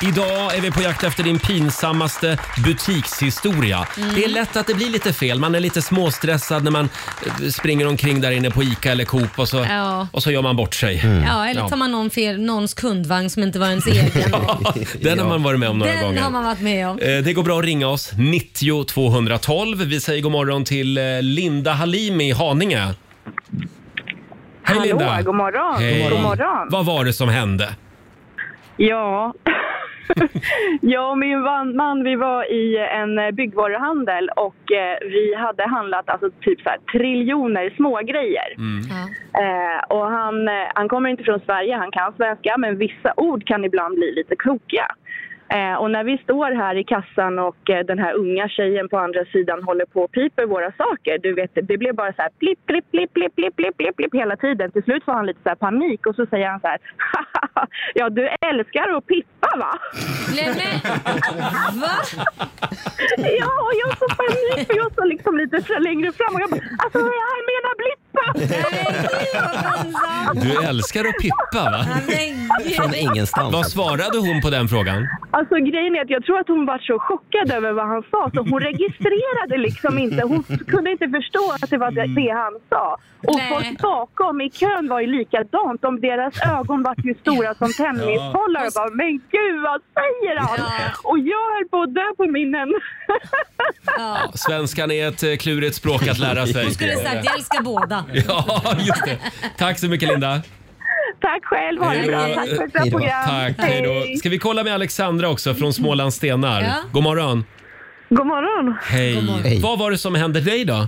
S1: Idag är vi på jakt efter din pinsammaste butikshistoria.
S3: Mm.
S1: Det är lätt att det blir lite fel. Man är lite småstressad när man eh, springer omkring där inne på ICA eller Coop och så,
S2: Ja. Mm.
S1: och så gör man bort sig.
S2: Ja, eller tar man någon fel, någons kundvagn som inte var ens egen.
S1: Ja, Den har man varit med om några
S2: Den
S1: gånger.
S2: har man varit med om.
S1: Eh, Det går bra att ringa oss, 90 212. Vi säger god morgon till eh, Linda Halimi i Haninge. Hej
S12: Hallå,
S1: Linda!
S12: god morgon.
S1: Hej.
S12: God morgon.
S1: Vad var det som hände?
S12: Ja. jag och min man, man vi var i en eh, byggvaruhandel och eh, vi hade handlat alltså typ så här, triljoner smågrejer.
S1: Mm.
S12: Eh, och han, eh, han kommer inte från Sverige, han kan svenska, men vissa ord kan ibland bli lite krokiga. Eh, och när vi står här i kassan och eh, den här unga tjejen på andra sidan håller på och piper våra saker, du vet, det blev bara så här blipp, blipp, blipp, blipp, blipp, blipp, blipp, blipp hela tiden. Till slut får han lite så här panik och så säger han så här, ja du älskar att pippa va?
S2: Va?
S12: ja, och jag får panik för jag står liksom lite fr- längre fram och jag bara, alltså han menar blippa!
S1: Du älskar att pippa va?
S12: Från
S1: ingenstans. Vad svarade hon på den frågan?
S12: Alltså grejen är att jag tror att hon var så chockad över vad han sa så hon registrerade liksom inte. Hon kunde inte förstå att det var det, det
S1: Mm.
S12: han sa. Och
S2: Nej.
S12: folk bakom i kön var ju likadant. Om deras ögon var ju stora som tennisbollar och bara “men gud vad säger han?” Och jag höll på att dö på minnen.
S1: Svenskan är ett eh, klurigt språk att lära sig.
S2: Hon skulle sagt jag älskar båda.
S1: Ja, just det. Tack så mycket Linda.
S12: Tack själv, ha det
S1: Hej då.
S12: bra. Tack för ett bra program.
S1: eh, Tack, hej då. Ska vi kolla med Alexandra också från Småland Stenar?
S12: Ja.
S1: God morgon.
S13: God morgon.
S1: Hej. Vad var det som hände dig då?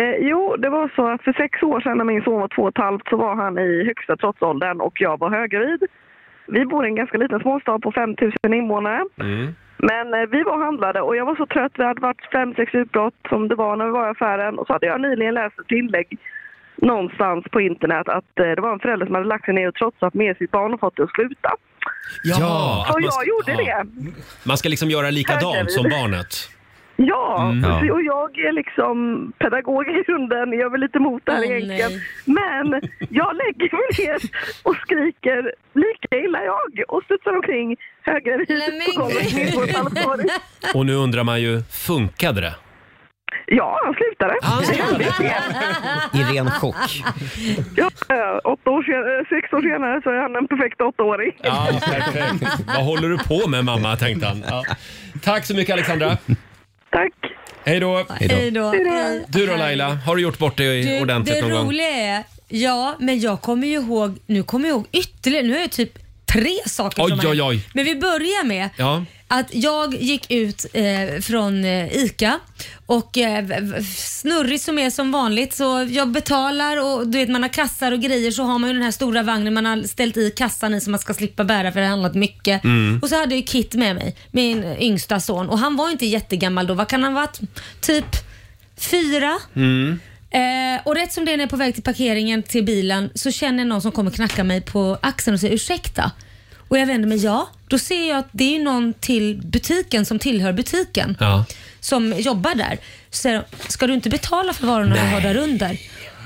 S13: Eh, jo, det var så att för sex år sedan när min son var två och ett halvt så var han i högsta trotsåldern och jag var höggravid. Vi bor i en ganska liten småstad på 5000 invånare. Men eh, vi var och handlade och jag var så trött. Det hade varit fem, sex utbrott som det var när vi var i affären. Och så hade jag nyligen läst ett inlägg någonstans på internet att eh, det var en förälder som hade lagt sig ner och trotsat med sitt barn och fått det att sluta.
S1: Ja,
S13: och
S1: att man,
S13: jag
S1: ska,
S13: gjorde
S1: ja.
S13: det.
S1: man ska liksom göra likadant som barnet.
S13: Ja,
S1: Mm.
S13: precis.
S1: Ja.
S13: och jag är liksom pedagog i grunden. Jag är väl lite emot det här
S2: Åh,
S13: egentligen.
S2: nej.
S13: Men jag lägger mig ner och skriker lika illa jag och studsar omkring höggravid på golvet med på ett halvt år.
S1: Och nu undrar man ju, funkade det?
S13: Ja, han slutade.
S1: I ren chock.
S13: Ja, eh, åtta år senare, eh, sex år senare så är han en perfekt åttaåring.
S1: Ja, perfekt. Vad håller du på med mamma, tänkte han. Ja. Tack så mycket Alexandra.
S13: Tack.
S1: Hej då.
S2: Hej då. Hej.
S1: Du då Laila, har du gjort bort dig
S2: Du,
S1: ordentligt
S2: det
S1: någon gång?
S2: roliga är, ja, men jag kommer ju ihåg, nu kommer jag ihåg ytterligare, nu har jag typ tre saker
S1: Oj,
S2: som har
S1: oj,
S2: hänt.
S1: oj.
S2: Men vi börjar med
S1: Ja.
S2: att jag gick ut eh, från eh, ICA och eh, v- v- snurrig som är som vanligt så jag betalar och du vet man har kassar och grejer så har man ju den här stora vagnen man har ställt i kassan i som man ska slippa bära för det har handlat mycket.
S14: Mm.
S2: Och så hade jag ju Kit med mig, min yngsta son och han var inte jättegammal då. Vad kan han ha varit? Typ fyra?
S14: Mm.
S2: Eh, och rätt som det är när jag är på väg till parkeringen till bilen så känner jag någon som kommer knacka mig på axeln och säger ursäkta. Och jag vänder mig ja. Då ser jag att det är någon till butiken som tillhör butiken
S14: Ja.
S2: som jobbar där. Så säger de, ska du inte betala för varorna du har där under?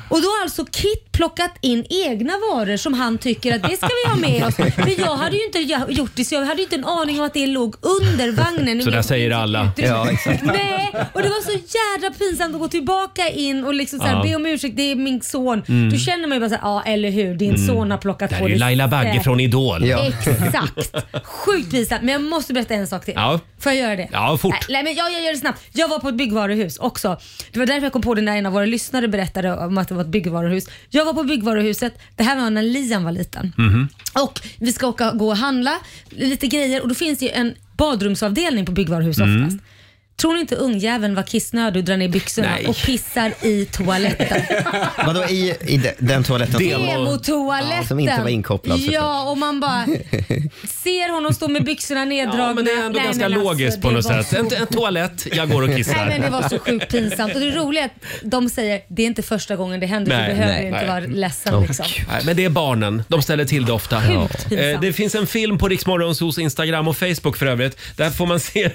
S2: Och då har alltså Kit plockat in egna varor som han tycker att det ska vi ha med oss. För jag hade ju inte gjort det så jag hade ju inte en aning om att det låg under vagnen.
S1: Så där säger alla.
S2: Nej, och det var så jädra pinsamt att gå tillbaka in och liksom så här,
S1: Ja.
S2: be om ursäkt, det är min son.
S1: Mm.
S2: Då känner man ju bara så här, ja eller hur, din
S1: Mm.
S2: son har plockat
S1: Det här
S2: på
S1: är ju Laila Bagge
S2: säkert."
S1: från Idol. Ja.
S2: Exakt. Sjukt pinsamt. Men jag måste berätta en sak till.
S1: Ja.
S2: Får jag göra det?
S1: Ja, fort.
S2: Nej, Nej, men jag, jag gör det snabbt. Jag var på ett byggvaruhus också. Det var därför jag kom på det när en av våra lyssnare berättade om att det var ett byggvaruhus. Jag var på byggvaruhuset, det här var när Liam var liten.
S1: Mm-hmm.
S2: Och vi ska åka, gå och handla lite grejer och då finns det ju en badrumsavdelning på byggvaruhus
S14: Mm.
S2: oftast. Tror ni inte ungjäveln var kissnödig och drar ner byxorna
S6: Nej.
S2: och pissar i toaletten?
S6: Vadå i, i de- den toaletten? som-
S2: Demotoaletten.
S6: Ja, Som inte var inkopplad såklart.
S2: Ja, och man bara ser honom stå med byxorna neddragna.
S1: Ja, men det är ändå
S2: Nej,
S1: ganska
S2: men alltså,
S1: logiskt på
S2: det
S1: något
S2: var
S1: sätt.
S2: så
S1: En, en toalett, jag går och kissar.
S2: Nej, men det var så sjukt pinsamt. Och det roliga är att de säger det är inte första gången det händer
S1: Nej,
S2: så behöver
S1: nej,
S2: du inte
S1: nej.
S2: vara ledsen. liksom.
S1: Nej, men det är barnen. De ställer till det ofta.
S2: Sjukt pinsamt.
S1: Eh, Det finns en film på Riksmorgonsos Instagram och Facebook för övrigt. Där får man se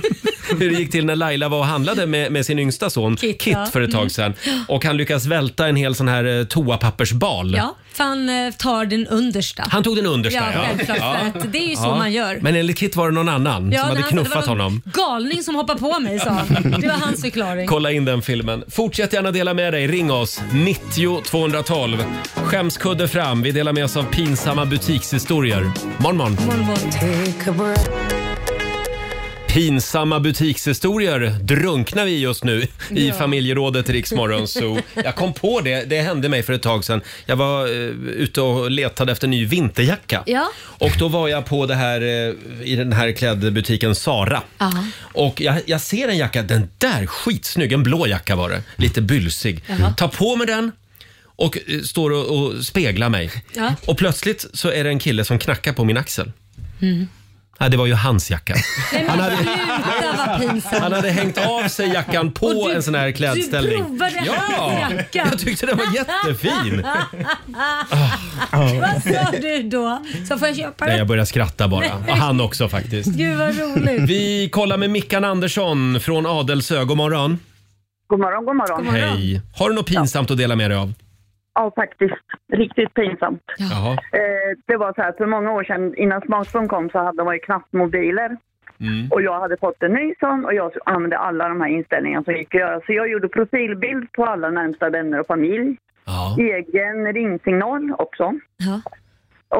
S1: hur det gick till när Laila var och handlade med, med sin yngsta son
S2: Kit,
S1: Kit,
S2: ja.
S1: för ett
S2: Mm.
S1: tag sedan. Och han lyckas välta en hel sån här eh, toapappersbal.
S2: Ja, för han eh, tar den understa.
S1: Han tog den understa.
S2: Ja, självklart. för att Det är ju så man gör.
S1: Men enligt Kit var det någon annan som
S2: Ja, när
S1: hade
S2: han sa, "Det
S1: knuffat
S2: var någon
S1: honom.
S2: Galning som hoppar på mig sa han. Det var hans förklaring.
S1: Kolla in den filmen. Fortsätt gärna dela med dig. Ring oss. 90 212. Skämskudde fram. Vi delar med oss av pinsamma butikshistorier. Morgon, morgon. Pinsamma butikshistorier drunknar vi just nu i
S3: Ja.
S1: familjerådet i Riksmorgon. Så jag kom på det, det hände mig för ett tag sedan. Jag var eh, ute och letade efter ny vinterjacka.
S2: Ja.
S1: Och då var jag på det här, eh, i den här klädbutiken Sara.
S2: Aha.
S1: Och jag, jag ser en jacka, den där skitsnygg, en blå jacka var det. Lite bylsig.
S2: Jaha. Mm.
S1: Tar på mig den och eh, står och, och speglar mig.
S2: Ja.
S1: Och plötsligt så är det en kille som knackar på min axel.
S2: Mm.
S1: Ja, det var ju hans jacka.
S2: Nej, men
S1: Han hade-
S2: sluta vad pinsamt.
S1: Han hade hängt av sig jackan på
S2: Och du-
S1: en sån här klädställning.
S2: Du provade
S1: ja,
S2: hans jacka.
S1: Jag tyckte den var jättefin.
S2: Ah.
S1: Ah.
S2: Vad sa du då? Så får jag köpa
S1: Nej, jag
S2: den?
S1: började skratta bara. Och han också faktiskt.
S2: Gud vad roligt.
S1: Vi kollar med Mickan Andersson från Adelsö. God morgon.
S15: God morgon, god morgon.
S1: Hej. Har du något pinsamt att dela med dig av?
S15: Ja, faktiskt. Riktigt pinsamt.
S1: Jaha.
S15: Eh, det var så här, för många år sedan innan smartphone kom så hade man ju knappt mobiler.
S1: Mm.
S15: Och jag hade fått en ny sån och jag använde alla de här inställningarna som gick att göra. Så jag gjorde profilbild på alla närmsta vänner och familj. Egen ringsignal också.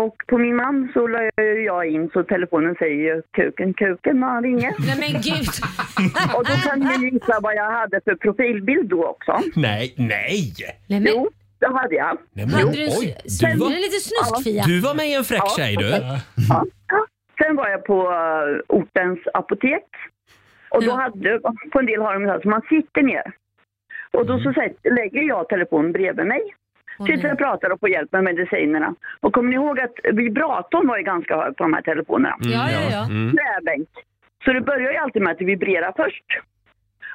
S15: Och på min man så la ju jag in så telefonen säger ju kuken, kuken när han ringer.
S2: Nej men gud.
S15: Och då kan ni gissa vad jag hade för profilbild då också.
S1: Nej, nej!
S15: Jo, det hade jag.
S1: Nej, men- Hade du en- oj, du var- Kände du lite snusk, Fia? Du var med i en fräck tjej, du.
S15: Ja. Sen var jag på eh, ortens apotek. Och då hade, på en del har de så här, så man sitter ner. Och då
S1: Mm.
S15: så sätt- lägger jag telefonen bredvid mig. Sitter och pratar och får hjälp med medicinerna. Och kommer ni ihåg att vibratorn var ju ganska hög på de här telefonerna?
S14: Mm, Ja, ja, ja. ja. Mm.
S15: Träbänk. Så det börjar ju alltid med att det vibrerar först.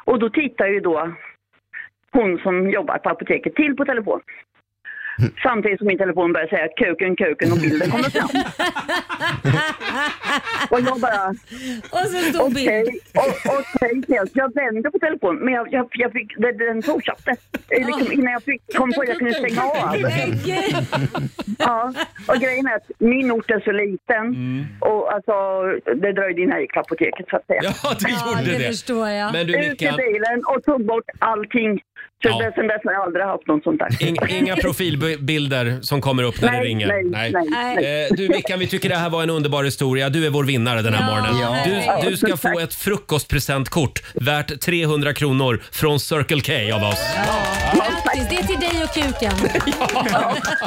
S15: Och då tittar ju då hon som jobbar på apoteket till på telefon. Samtidigt som min telefon börjar säga kuken, kuken och bilden kommer fram. och jag bara...
S2: Och så stod
S15: Okej, o- okej, helt. jag vände på telefonen men jag, jag, jag fick, den, den fortsatte. Eh, Liksom, innan jag fick, kom på att jag kunde stänga av. Ja, och grejen är att min ort är så liten
S1: Mm.
S15: och alltså, det dröjde innan jag gick till apoteket så att säga.
S1: Ja, det gjorde Ja, det det. förstår jag. Men du,
S15: Ut i
S1: Mickan-
S15: bilen och tog bort allting. Så
S1: Ja.
S15: det, sen dess har jag aldrig haft något sånt där.
S1: Ing- Inga profilbilder som kommer upp när det
S15: Nej,
S1: ringer.
S15: nej, nej, nej.
S1: Eh, Du Mickan, vi tycker det här var en underbar historia. Du är vår vinnare den här
S3: Ja,
S1: morgonen.
S3: verkligen.
S1: Du, du ska få ett frukostpresentkort värt 300 kronor från Circle K av oss.
S2: Grattis, det är till dig och kuken.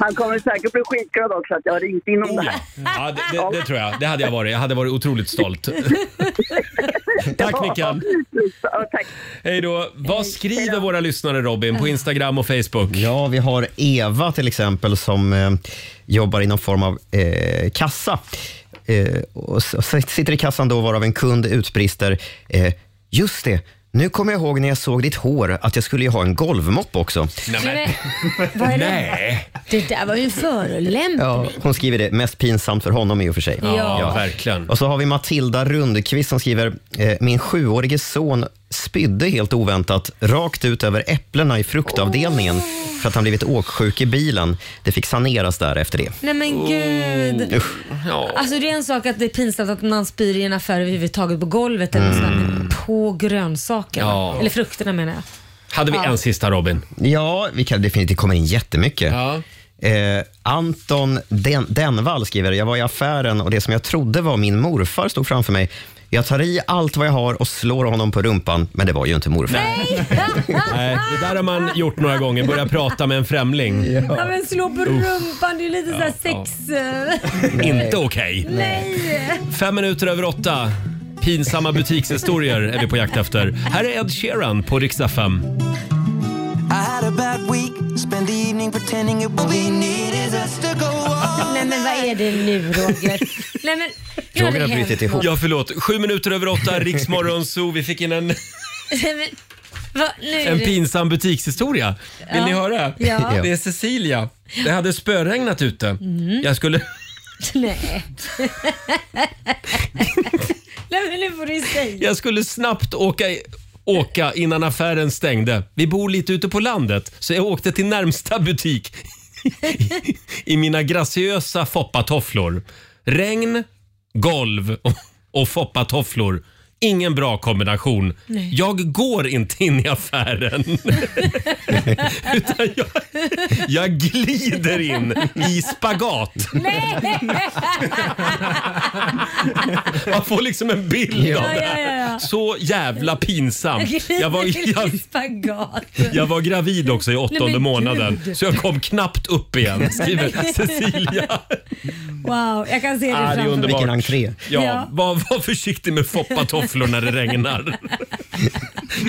S15: Han kommer säkert bli skitglad också att jag har ringt in om det här.
S1: Ja, det, det, det tror jag. Det hade jag varit. Jag hade varit otroligt stolt. Tack Mickan. Hej då. Vad skriver våra lyssnare Robin på Instagram och Facebook?
S6: Ja, vi har Eva till exempel som eh, jobbar i någon form av eh, kassa. Eh, och, s- och s- sitter i kassan då varav en kund utbrister. Eh, just det, nu kommer jag ihåg när jag såg ditt hår att jag skulle ju ha en golvmopp också.
S2: Vad är det? Det där var ju en förolämpning.
S6: Ja, hon skriver det mest pinsamt för honom i och för sig.
S2: Ja. Ja,
S1: verkligen.
S6: Och så har vi Matilda Rundqvist som skriver, eh, min sjuårige son spydde helt oväntat rakt ut över äpplena i fruktavdelningen för att han blivit åksjuk i bilen. Det fick saneras där efter det.
S2: Nej men gud.
S6: Usch.
S2: Alltså det är en sak att det är pinsamt att man spyr i en affär överhuvudtaget på golvet eller
S6: Mm.
S2: sådär, men på grönsakerna.
S6: Ja.
S2: Eller frukterna menar jag.
S1: Hade
S2: vi Ja. en
S1: sista Robin?
S6: Ja, vi kan definitivt komma in jättemycket. Eh, Anton Den- Denvall skriver, jag var i affären och det som jag trodde var min morfar stod framför mig. Jag tar i allt vad jag har och slår honom på rumpan, men det var ju inte morfar.
S2: alltså,
S1: Nej, det där har man gjort några gånger. Börja prata med en främling.
S2: Ja, men slå på
S1: Uff.
S2: rumpan, det är ju lite såhär sex... eh,
S1: Inte okej.
S2: Nej!
S1: Fem minuter över åtta. Pinsamma butikshistorier är vi på jakt efter. Här är Ed Sheeran på riksdag 5.
S3: I had a bad week, spent the evening pretending it what we need is us to go on.
S2: Nej men vad är det nu Roger? Nej men... nu har det hänt något.
S1: Ja, förlåt. Sju minuter över åtta, Riksmorgon Zoo. Vi fick in en,
S2: Nej, men, vad, nu är
S1: en
S2: det-
S1: pinsam butikshistoria. Vill
S2: Ja.
S1: ni höra?
S2: Ja.
S1: Det är Cecilia. Det hade spöregnat ute.
S2: Mm.
S1: Jag skulle...
S2: Nej. Nej men nu får du säga.
S1: Jag skulle snabbt åka, i- åka innan affären stängde. Vi bor lite ute på landet, så jag åkte till närmsta butik i- i mina graciösa foppatofflor. Regn, golv och, och foppatofflor. Ingen bra kombination.
S3: Nej.
S1: Jag går inte in i affären. Utan jag, jag glider in i spagat.
S3: Nej!
S1: Man får liksom en bild
S3: Ja,
S1: av det.
S3: ja, ja, ja.
S1: Så jävla pinsamt. Jag
S2: Jag
S1: var, jag,
S2: spagat.
S1: jag var gravid också i
S2: Nej, men
S1: åttonde
S2: gud.
S1: månaden så jag kom knappt upp igen, skriver
S2: Nej.
S1: Cecilia.
S2: Wow, jag kan se det
S1: Ah, det är
S2: framför mig.
S1: underbart.
S6: entré.
S1: Ja,
S2: Ja.
S1: Var, var försiktig med foppatofflor när det regnar.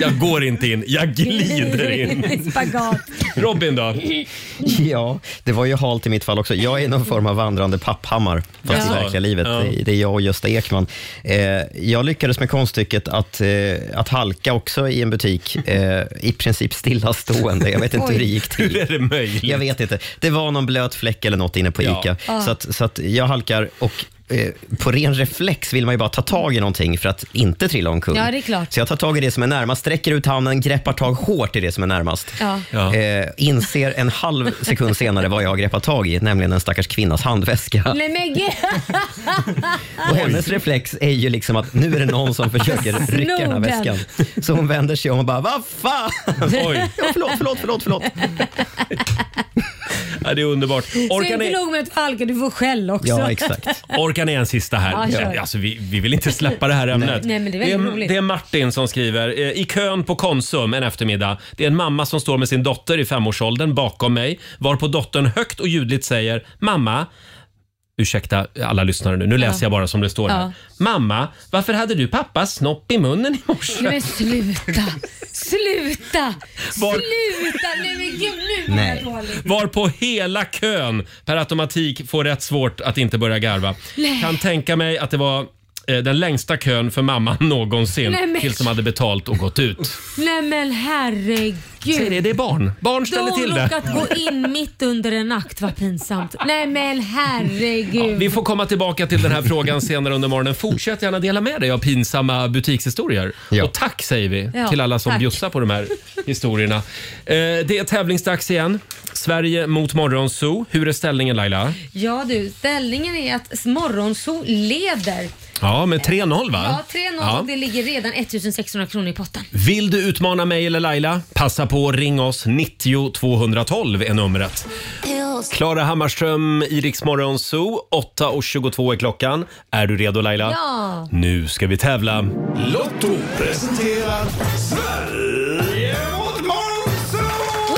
S1: Jag går inte in, jag glider in.
S2: Spagat.
S1: Robin då?
S6: Ja, det var ju halt i mitt fall också. Jag är någon form av vandrande papphammar, fast
S1: Jaså.
S6: i verkliga livet.
S1: Ja.
S6: Det- Det är jag och Gösta Ekman. Eh, jag lyckades med konststycket att, eh, att halka också i en butik, eh, i princip stillastående. Jag vet inte hur det
S1: Oj.
S6: gick till.
S1: Hur är det möjligt?
S6: Jag vet inte. Det var någon blöt fläck eller något inne på
S1: Ja.
S6: ICA.
S1: Ah.
S6: Så, att, så att jag halkar och eh, på ren reflex vill man ju bara ta tag i någonting för att inte trilla omkull.
S2: Ja, det är klart.
S6: Så jag tar tag i det som är närmast, sträcker ut handen, greppar tag hårt i det som är närmast.
S2: Ja.
S6: Eh, inser en halv sekund senare vad jag har greppat tag i, nämligen en stackars kvinnas handväska.
S2: Nej men gud.
S6: Och hennes reflex är ju liksom att nu är det någon som försöker rycka den här
S2: Snor den.
S6: väskan. Så hon vänder sig om och bara, vad fan!
S1: Oj.
S6: Ja, förlåt, förlåt, förlåt, förlåt.
S1: Ja, det är underbart.
S2: Så
S1: Orkar
S2: inte
S1: ni,
S2: nog med att halka, du får skäll också.
S1: Orkar ni en sista här?
S2: Ja, kör.
S1: Alltså, vi, vi vill inte släppa det här ämnet.
S2: Nej, men det är väldigt
S1: det, är,
S2: roligt.
S1: det är Martin som skriver. eh, I kön på Konsum en eftermiddag. Det är en mamma som står med sin dotter i femårsåldern bakom mig. Varpå dottern högt och ljudligt säger Mamma, ursäkta alla lyssnare nu, nu läser
S2: Ja.
S1: jag bara som det står här.
S2: Ja.
S1: Mamma, varför hade du pappas snopp i munnen i morse?
S2: Nej men sluta! Sluta!
S1: Var-
S2: Sluta! Nej men gud, nu var jag dålig.
S1: Varpå hela kön per automatik får rätt svårt att inte börja garva.
S2: Nej.
S1: Kan tänka mig att det var eh, den längsta kön för mamman någonsin
S2: Nej, men-
S1: tills de hade betalt och gått ut.
S2: Nej men herregud.
S1: Säg det, det är barn. Barn ställer till
S2: De har
S1: det.
S2: råkat gå in mitt under en akt, vad pinsamt. Nej men herregud.
S1: Vi får komma tillbaka till den här frågan senare under morgonen. Fortsätt gärna dela med dig av pinsamma butikshistorier. Och tack säger vi
S2: Ja,
S1: till alla som
S2: tack.
S1: bjussar på de här historierna. Eh, det är tävlingsdags igen. Sverige mot Morgonzoo. Hur är ställningen Laila?
S2: Ja du, ställningen är att Morgonzoo leder.
S1: Ja, med 3-0 va?
S2: Ja, 3-0
S1: Ja.
S2: och det ligger redan 1600 kronor i potten.
S1: Vill du utmana mig eller Laila? Passa på och ring oss. 90 212 är numret. Klara Hammarström, Iriks Morgonzoo. 8.22 är klockan. Är du redo Laila?
S14: Ja.
S1: Nu ska vi tävla.
S14: Lotto presenterar Sverige mot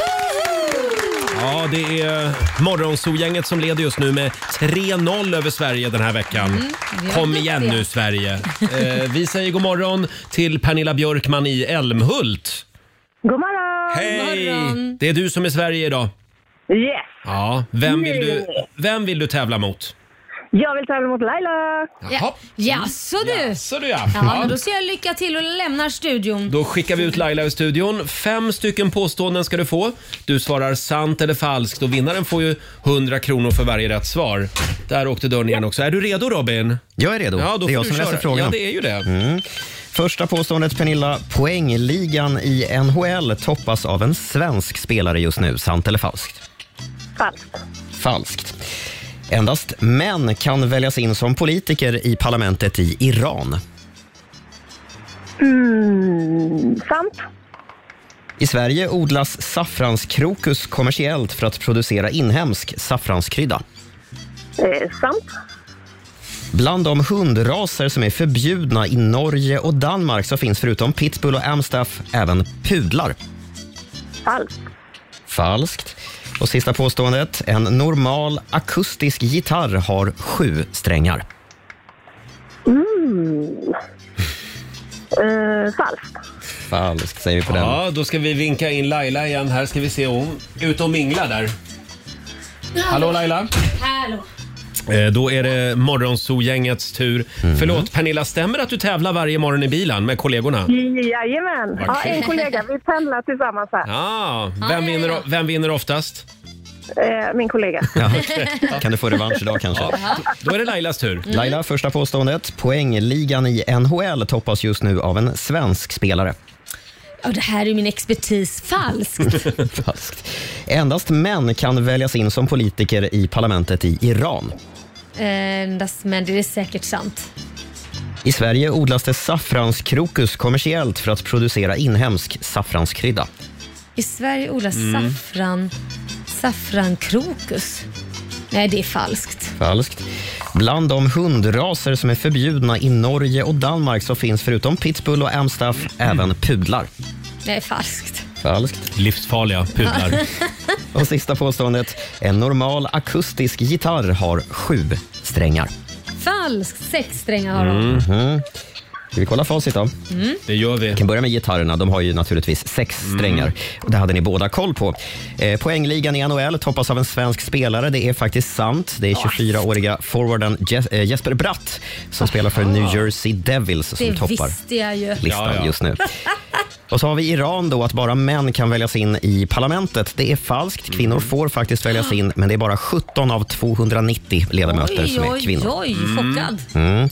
S14: Monzo!
S1: Ja, det är Morgonzoo-gänget som leder just nu med 3-0 över Sverige den här veckan.
S14: Mm, vi är
S1: Kom
S14: duktiga.
S1: igen nu Sverige. Eh, vi säger god morgon till Pernilla Björkman i Älmhult.
S14: God morgon!
S1: Hej! Det är du som är Sverige idag.
S14: Yes!
S1: Ja, vem vill du,
S14: Nej.
S1: vem vill du tävla mot?
S14: Jag vill tävla mot Laila!
S1: Jaha.
S2: Jaså du? Jaså
S1: du ja.
S2: ja.
S1: Ja.
S2: men då säger jag lycka till och lämnar studion.
S1: Då skickar vi ut Laila i studion. Fem stycken påståenden ska du få. Du svarar sant eller falskt och vinnaren får ju 100 kronor för varje rätt svar. Där åkte dörren igen också. Är du redo Robin?
S6: Jag är redo.
S1: Ja, då
S6: det är
S1: får
S6: jag
S1: du
S6: som läser
S1: köra.
S6: frågan.
S1: Ja, det är ju det.
S6: Mm. Första påståendet Pernilla. Poängligan i NHL toppas av en svensk spelare just nu. Sant eller falskt?
S14: Falskt.
S6: Falskt. Endast män kan väljas in som politiker i parlamentet i Iran.
S14: Mm, sant.
S6: I Sverige odlas saffranskrokus kommersiellt för att producera inhemsk saffranskrydda.
S14: Eh, sant.
S6: Bland de hundraser som är förbjudna i Norge och Danmark så finns förutom pitbull och amstaff även pudlar.
S14: Falskt.
S6: Falskt. Och sista påståendet. En normal akustisk gitarr har sju strängar.
S14: Mm. Eh, falskt.
S6: Falskt säger vi på den.
S1: Ja, då ska vi vinka in Laila igen här. Ska vi se hon ut och mingla där. Hallå Laila?
S2: Hallå.
S1: Eh, då är det Morgonzoo-gängets tur. Förlåt Pernilla, stämmer det att du tävlar varje morgon i bilen med kollegorna?
S14: Jajamän. Ja,
S1: Vad kul.
S14: en kollega. Vi pendlar tillsammans här.
S1: Ja, vem vinner, vem vinner oftast?
S14: Eh, min kollega.
S6: Kan du få revansch idag kanske?
S1: Ja, då är det Lailas tur.
S6: Laila, första påståendet. Poängligan i NHL toppas just nu av en svensk spelare.
S2: Ja, det här är min expertis. Falskt.
S6: Falskt. Endast män kan väljas in som politiker i parlamentet i Iran.
S2: Eh, Endast men det är säkert sant.
S6: I Sverige odlas det saffranskrokus kommersiellt för att producera inhemsk saffranskrydda.
S2: I Sverige odlas
S6: Mm.
S2: saffran, saffrankrokus. Nej, det är falskt.
S6: Falskt. Bland de hundraser som är förbjudna i Norge och Danmark så finns förutom pitbull och amstaff även pudlar.
S2: Det är falskt.
S6: Falskt.
S1: Livsfarliga
S2: Ja.
S6: och sista påståendet. En normal akustisk gitarr har sju strängar.
S2: Falskt. Sex strängar har de.
S6: Mm. Ska vi kolla facit då?
S2: Mm.
S1: Det gör vi. Mm. Vi
S6: kan börja med gitarrerna. De har ju naturligtvis sex strängar. Och det hade ni båda koll på. Eh, poängligan i NHL toppas av en svensk spelare. Det är faktiskt sant. Det är 24-åriga forwarden Je- eh, Jesper Bratt som spelar för New Jersey Devils alltså, som
S2: Det
S6: toppar
S2: visste jag ju.
S6: listan just nu. Och så har vi Iran då, att bara män kan väljas in i parlamentet. Det är falskt.
S2: Mm.
S6: Kvinnor får faktiskt väljas in, men det är bara 17 av 290 ledamöter som är kvinnor.
S2: Oj, oj, chockad.
S6: Mm.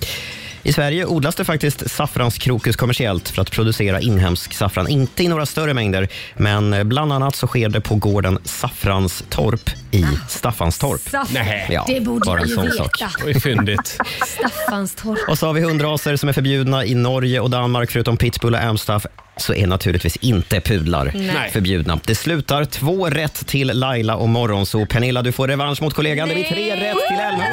S6: I Sverige odlas det faktiskt saffranskrokus kommersiellt för att producera inhemsk saffran. Inte i några större mängder, men bland annat så sker det på gården Saffranstorp i Staffanstorp.
S2: Ah. Saff-
S6: Ja,
S2: det borde
S6: bara en
S2: jag
S6: sån
S2: ju
S6: sak.
S2: veta.
S1: Oj, fyndigt.
S2: Staffanstorp.
S6: Och så har vi hundraser som är förbjudna i Norge och Danmark. Förutom pitbull och amstaff så är naturligtvis inte pudlar
S2: Nej.
S6: förbjudna. Det slutar två rätt till Laila och Morgonzoo. Pernilla, du får revansch mot kollegan. Det blir tre rätt till Elma.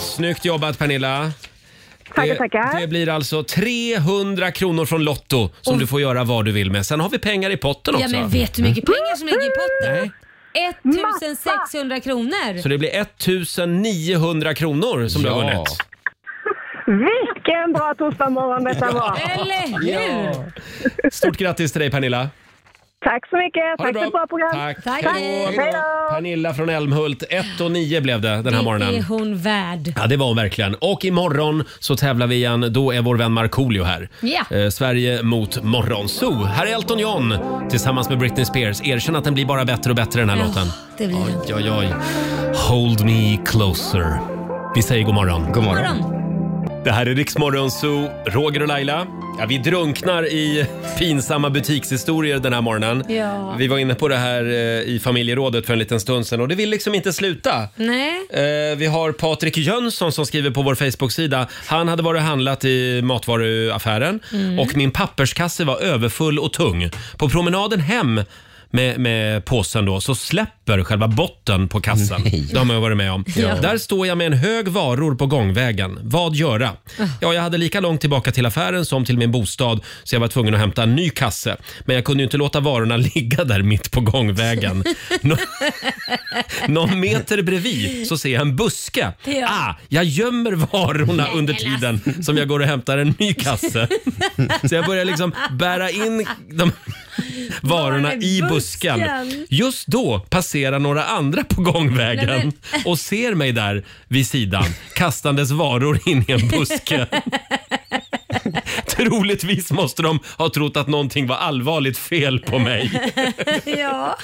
S1: Snyggt jobbat Pernilla.
S14: Tackar,
S1: Det-
S14: tackar.
S1: Det blir alltså 300 kronor från Lotto som
S2: Och-
S1: du får göra vad du vill med. Sen har vi pengar i potten också.
S2: Ja, men vet du hur
S6: Mm.
S2: mycket pengar som ligger i potten?
S1: Nej.
S2: 1600 kronor.
S1: Mm. Så det blir 1900 kronor som du har vunnit.
S14: Vilken bra torsdagsmorgon detta var!
S2: Eller
S1: Ja. Stort grattis till dig Pernilla.
S14: Tack så mycket!
S1: det
S14: Tack för
S1: bra.
S14: ett bra program!
S1: Tack.
S2: Hej
S14: Hej då!
S1: Pernilla från Älmhult. 1 och 9 blev det den här
S2: Det är
S1: morgonen.
S2: hon värd.
S1: Ja, det var hon verkligen. Och imorgon så tävlar vi igen. Då är vår vän Markoolio här.
S2: Ja.
S1: Eh, Sverige mot Morgonzoo. Här är Elton John tillsammans med Britney Spears. Erkänn att den blir bara bättre och bättre den här låten.
S2: Det blir den.
S1: Oj, oj, oj. Hold me closer. Vi säger god morgon. God Det här är Riksmorgon Zoo, Roger och Laila. Ja, vi drunknar i pinsamma butikshistorier den här morgonen.
S2: Ja.
S1: Vi var inne på det här eh, i familjerådet för en liten stund sedan och det vill liksom inte sluta.
S2: Nej.
S1: Eh, Vi har Patrik Jönsson som skriver på vår Facebook-sida. Han hade varit och handlat i matvaruaffären
S16: Mm.
S1: och min papperskasse var överfull och tung. På promenaden hem med, med påsen då, så släpper själva botten på kassen. Det har man ju varit med om.
S16: Ja.
S1: Där står jag med en hög varor på gångvägen. Vad göra? Ja, jag hade lika långt tillbaka till affären som till min bostad så jag var tvungen att hämta en ny kasse. Men jag kunde ju inte låta varorna ligga där mitt på gångvägen. Nå- någon meter bredvid så ser jag en buske.
S16: Ja. alltså.
S1: Ah, jag gömmer varorna under tiden som jag går och hämtar en ny kasse. Så jag börjar liksom bära in de varorna i busken.
S16: busken.
S1: Just då passerar några andra på
S16: Nej,
S1: gångvägen
S16: men-
S1: och ser mig där vid sidan kastandes varor in i en buske. Troligtvis måste de ha trott att någonting var allvarligt fel på mig.
S2: ja.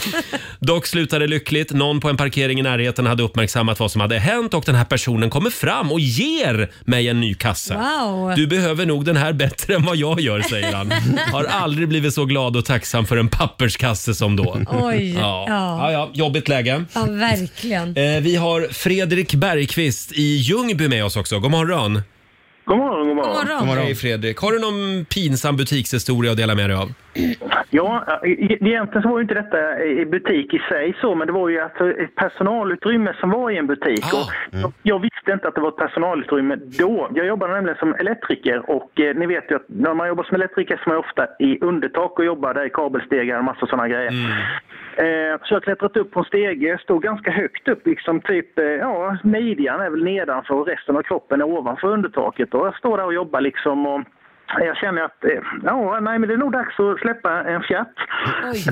S1: Dock slutade lyckligt. Någon på en parkering i närheten hade uppmärksammat vad som hade hänt och den här personen kommer fram och ger mig en ny kasse.
S16: Wow.
S1: Du behöver nog den här bättre än vad jag gör, säger han. Har aldrig blivit så glad och tacksam för en papperskasse som då.
S2: Oj,
S1: Ja.
S2: ja.
S1: Ja, ja, jobbigt läge.
S2: Ja, verkligen.
S1: Eh, vi har Fredrik Bergqvist i Ljungby med oss också. God morgon.
S7: God morgon, god morgon.
S2: God morgon. God morgon.
S1: Hej Fredrik. Har du någon pinsam butikshistoria att dela med dig av?
S7: Ja, e- e- egentligen så var ju inte detta i butik i sig så, men det var ju alltså ett personalutrymme som var i en butik.
S1: Ah.
S7: Och
S1: Mm.
S7: Jag visste inte att det var ett personalutrymme då. Jag jobbade nämligen som elektriker och eh, ni vet ju att när man jobbar som elektriker så är man ju ofta i undertak och jobbar där i kabelstegar och massa sådana grejer.
S1: Mm.
S7: Eh, Så jag har klättrat upp på en stege, stod ganska högt upp, liksom typ, eh, ja, midjan är väl nedanför och resten av kroppen är ovanför undertaket. Och jag står där och jobbar liksom och jag känner att, eh, ja, nej men det är nog dags att släppa en fjärt.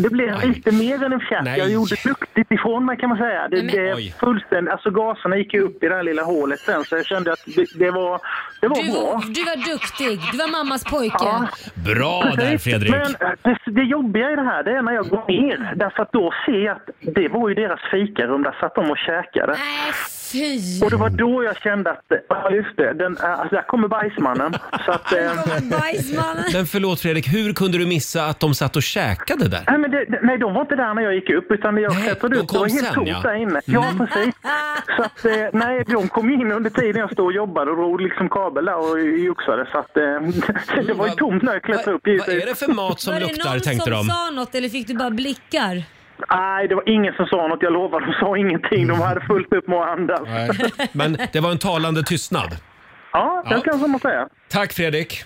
S7: Det blev lite mer än en fjärt. Jag gjorde duktigt ifrån mig kan man säga. Det, det fullständigt, alltså gaserna gick ju upp i det här lilla hålet sen så jag kände att det, det var, det var
S2: Du,
S7: bra.
S2: var- du var duktig. Du var mammas pojke.
S1: Bra där
S7: Precis,
S1: Fredrik.
S7: Men det, det jobbiga i det här det är när jag går ner. Därför att då ser jag att det var ju deras fikarum. Där satt de och käkade. Och det var då jag kände att, ja just det, den, alltså, där kommer bajsmannen. Så att, eh,
S1: Men förlåt Fredrik, hur kunde du missa att de satt och käkade där?
S7: Nej, men det, det- nej, de var inte där när jag gick upp utan jag klättrade
S1: de
S7: upp. Det var
S1: kom
S7: helt
S1: sen,
S7: tomt
S1: ja.
S7: där inne. Ja,
S1: Mm.
S7: precis. Så att, eh, nej, de kom ju in under tiden jag stod och jobbade och drog liksom kabel där och joxade. Så att, eh, det var ju tomt när jag klättrade upp.
S1: Mm, Vad är det för mat som
S2: var det
S1: luktar,
S2: någon
S1: tänkte
S2: som
S1: de.
S2: sa något eller fick du bara blickar?
S7: Nej, det var ingen som sa något. Jag lovar, de sa ingenting. De hade fullt upp med att andas.
S1: Men det var en talande tystnad.
S7: Ja, det kanske man säga.
S1: Tack Fredrik.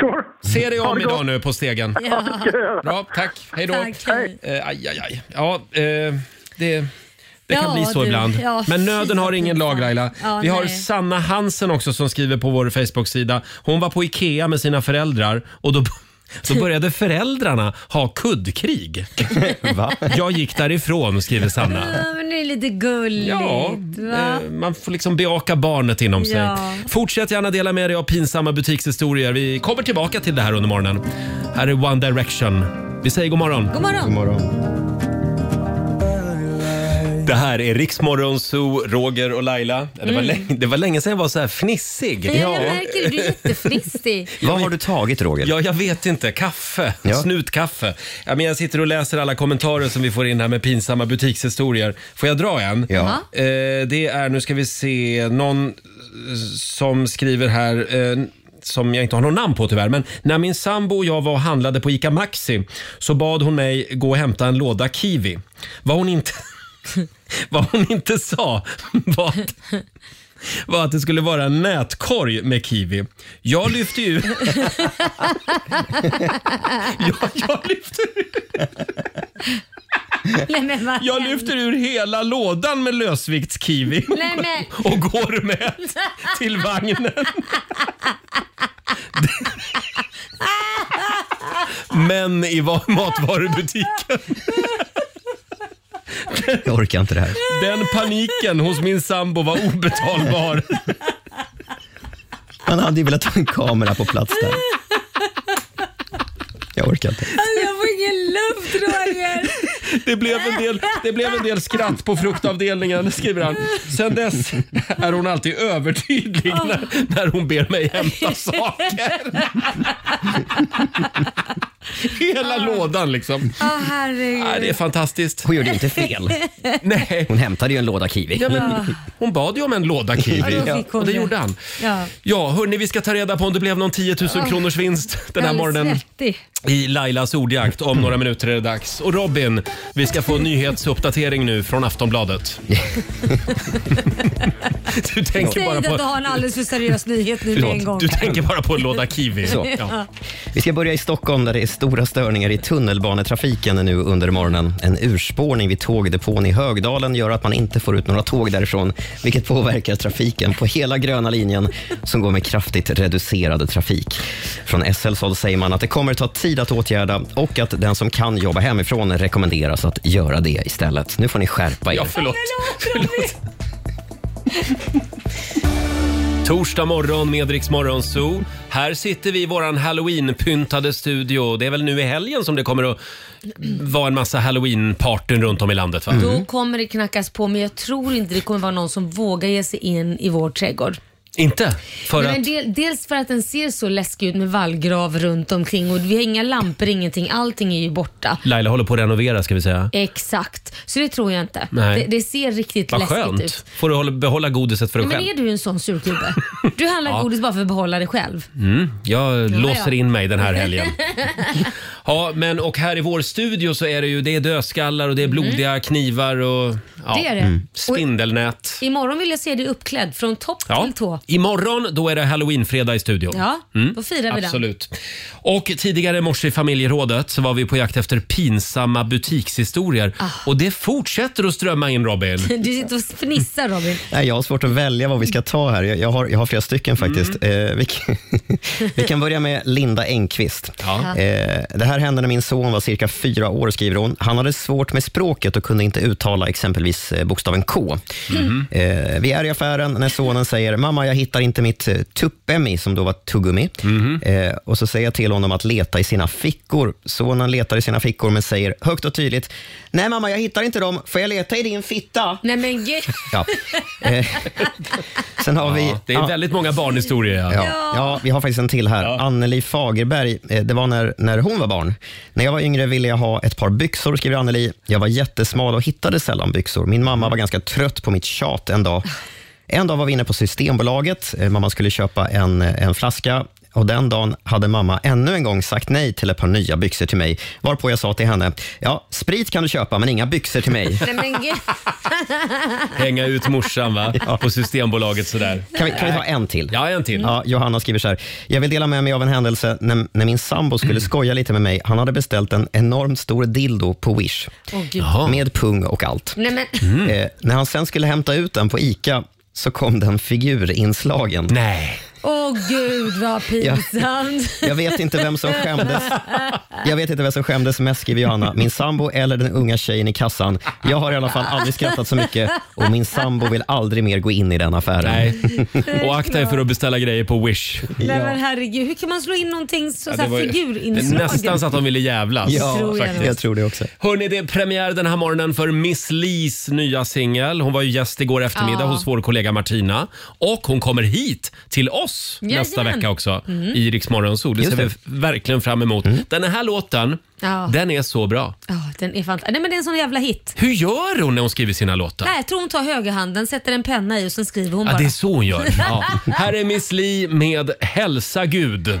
S7: Sure.
S1: Se dig
S7: Ha
S1: om
S7: det
S1: idag
S7: gott.
S1: nu på stegen.
S7: Ja. Ja, det gör jag.
S1: Bra, tack. Hej då.
S7: Tack, hej.
S1: Eh, aj, aj, aj. Ja, eh, det... Det kan
S16: Ja,
S1: bli så
S16: du.
S1: ibland.
S16: Ja,
S1: Men
S16: fy
S1: nöden har ingen lag Laila.
S16: Ja,
S1: Vi har
S16: nej.
S1: Sanna Hansen också som skriver på vår Facebook-sida. Hon var på IKEA med sina föräldrar och då, då började föräldrarna ha kuddkrig. Va? Jag gick därifrån skriver Sanna.
S2: Ja, men det är lite gulligt.
S1: Ja,
S2: va?
S1: eh, man får liksom bejaka barnet inom sig.
S2: Ja.
S1: Fortsätt gärna dela med dig av pinsamma butikshistorier. Vi kommer tillbaka till det här under morgonen. Här är One Direction. Vi säger god morgon.
S2: God morgon. God
S1: Det här är Riksmorgon Zoo, Roger och Laila. Det, var
S2: Mm.
S1: länge, det var länge sedan jag var så här fnissig.
S2: Ja, jag märker det. Du är jättefnissig.
S1: Vad har du tagit Roger? Ja, jag vet inte. Kaffe. Snutkaffe. Ja, men jag sitter och läser alla kommentarer som vi får in här med pinsamma butikshistorier. Får jag dra en?
S16: Ja.
S1: Eh, det är, nu ska vi se, någon eh, som skriver här eh, som jag inte har något namn på tyvärr, men när min sambo och jag var och handlade på ICA Maxi så bad hon mig gå och hämta en låda kiwi. Vad hon inte, vad hon inte sa var att, var att det skulle vara en nätkorg med kiwi. Jag lyfte ju... jag, jag lyfte
S2: Nej, men vad
S1: Jag lyfter ur hela lådan med lösviktskiwi
S2: Nej, men-
S1: och går med till vagnen. män i va- matvarubutiken.
S6: Jag orkar inte det här.
S1: Den paniken hos min sambo var obetalbar.
S6: Man hade ju velat ha en kamera på plats där. Jag orkar inte.
S2: Alltså,
S16: Jag får ingen luft Roger!
S1: Det blev, en del, det blev en del skratt på fruktavdelningen, skriver han. Sen dess är hon alltid övertydlig när, när hon ber mig hämta saker. Hela lådan liksom.
S2: Åh herregud.
S1: Nej, det är fantastiskt.
S6: Hon gjorde ju inte fel.
S1: Nej.
S6: Hon hämtade ju en låda kiwi.
S1: Ja, men, hon bad ju om en låda
S6: Ja,
S1: kiwi
S6: då fick hon
S1: och det
S6: det.
S1: gjorde han.
S2: Ja.
S1: Ja, hörni, vi ska ta reda på om det blev någon 10 000 kronors vinst den här
S2: Alldeles
S1: morgonen
S2: svettig.
S1: i Lailas ordjakt. Om några minuter är det dags. Och Robin, vi ska få en nyhetsuppdatering nu från Aftonbladet. du tänker
S2: Säg
S1: bara
S2: att du
S1: på...
S2: har en alldeles för seriös nyhet nu med en
S1: Förlåt,
S2: gång.
S1: du tänker bara på en låda kiwi.
S6: Så.
S1: Ja.
S6: Vi ska börja i Stockholm där det är stora störningar i tunnelbanetrafiken nu under morgonen. En urspårning vid tågdepån i Högdalen gör att man inte får ut några tåg därifrån, vilket påverkar trafiken på hela gröna linjen som går med kraftigt reducerad trafik. Från SLs håll säger man att det kommer ta tid att åtgärda och att den som kan jobba hemifrån rekommenderas att göra det istället. Nu får ni skärpa er.
S1: Ja, förlåt. Torsdag morgon med Rix Morgon Zoo. Här sitter vi i våran halloween-pyntade studio. Det är väl nu i helgen som det kommer att vara en massa halloween-partyn runt om i landet va?
S6: Mm.
S2: Då kommer det knackas på men jag tror inte det kommer vara någon som vågar ge sig in i vår trädgård.
S1: Inte? För
S2: Nej,
S1: att...
S2: men del, dels för att den ser så läskig ut med vallgrav runt omkring och vi har inga lampor, ingenting. Allting är ju borta.
S1: Laila håller på att renovera ska vi säga.
S2: Exakt, så det tror jag inte.
S1: Nej.
S2: Det, det ser riktigt
S1: Vad
S2: läskigt
S1: skönt.
S2: ut.
S1: Får du hålla- behålla godiset för dig
S2: Nej, men
S1: själv.
S2: är du en sån surkubbe? Du handlar
S1: Ja.
S2: godis bara för att behålla det själv.
S1: Mm, jag låser
S2: ja.
S1: in mig den här helgen. Ja, men och här i vår studio så är det ju det är dödskallar och det är blodiga knivar och ja,
S2: Mm. Det är det. Mm.
S1: spindelnät.
S2: Imorgon vill jag se dig uppklädd från topp
S1: Ja.
S2: till tå.
S1: Imorgon då är det halloweenfredag i studion. Mm.
S2: Ja, då firar vi den.
S1: Absolut. Och tidigare i morse i familjerådet så var vi på jakt efter pinsamma butikshistorier.
S2: Ah.
S1: Och det fortsätter att strömma in Robin.
S2: Du sitter och fnissar Robin.
S6: Nej, jag har svårt att välja vad vi ska ta här. Jag, jag, har, jag har flera stycken faktiskt. Eh, vi, kan, vi kan börja med Linda Engqvist.
S1: Ja.
S6: Eh, det här hände när min son var cirka fyra år, skriver hon. Han hade svårt med språket och kunde inte uttala exempelvis eh, bokstaven K.
S3: Mhm.
S6: Eh, vi är i affären när sonen säger “Mamma, jag hittar inte mitt eh, tuppemmi”, som då var tuggummi. Eh, och så säger jag till honom att leta i sina fickor. Sonen letar i sina fickor men säger högt och tydligt “Nej mamma, jag hittar inte dem. Får jag leta i din fitta?”
S2: Nej men gud.
S6: Ja. Eh, Sen har vi...
S1: det är väldigt många barnhistorier. Ja.
S6: Ja. ja, vi har faktiskt en till här. Anneli Fagerberg, eh, det var när, när hon var barn. När jag var yngre ville jag ha ett par byxor, skriver Anneli. Jag var jättesmal och hittade sällan byxor. Min mamma var ganska trött på mitt tjat en dag. En dag var vi inne på Systembolaget. Eh, Mamma skulle köpa en, eh, en flaska. Och Den dagen hade mamma ännu en gång sagt nej till ett par nya byxor till mig, varpå jag sa till henne, ja, sprit kan du köpa, men inga byxor till mig.
S2: Nej men gud.
S1: Hänga ut morsan va? på Systembolaget sådär.
S6: Kan vi, kan vi ta en till?
S1: Ja, en till.
S6: Ja, Johanna skriver så här. Jag vill dela med mig av en händelse när, när min sambo
S1: Mm.
S6: skulle skoja lite med mig. Han hade beställt en enormt stor dildo på Wish.
S2: Åh, gud.
S6: Med pung och allt.
S2: Nej, men...
S1: Mm.
S6: Eh, när han sen skulle hämta ut den på ICA så kom den figurinslagen.
S1: Nej.
S2: Åh gud vad pinsamt.
S6: jag vet inte vem som skämdes. Jag vet inte vem som skämdes mest, skriver Johanna. Min sambo eller den unga tjejen i kassan. Jag har i alla fall aldrig skrattat så mycket och min sambo vill aldrig mer gå in i den affären.
S2: Nej.
S1: Och akta er för att beställa grejer på Wish.
S2: Nej men herregud, hur kan man slå in någonting så,
S1: Ja,
S2: så här
S1: var ju-
S2: figurinslagen?
S1: Nästan så att de ville jävlas.
S6: Ja,
S2: Tror jag
S1: faktiskt.
S2: nog. jag
S6: tror det också.
S1: Hörni, det är premiär den här morgonen för Miss Lees nya singel. Hon var ju gäst igår eftermiddag
S2: Ja.
S1: hos vår kollega Martina. Och hon kommer hit till oss
S2: Jajamän.
S1: nästa vecka också
S2: Mm.
S1: i Rix Morgon Zoo. Det ser
S6: Just
S1: vi
S6: det. Mm.
S1: f- verkligen fram emot. Den här låten,
S2: Ja.
S1: den är så bra.
S2: Ja, den är fantastisk. Nej men det är en sån jävla hit.
S1: Hur gör hon när hon skriver sina låtar?
S2: Nej, jag tror hon tar högerhanden, sätter en penna i och sen skriver hon
S1: Ja,
S2: bara.
S1: det är så hon gör. Ja. Här är Miss Li med Hälsa Gud.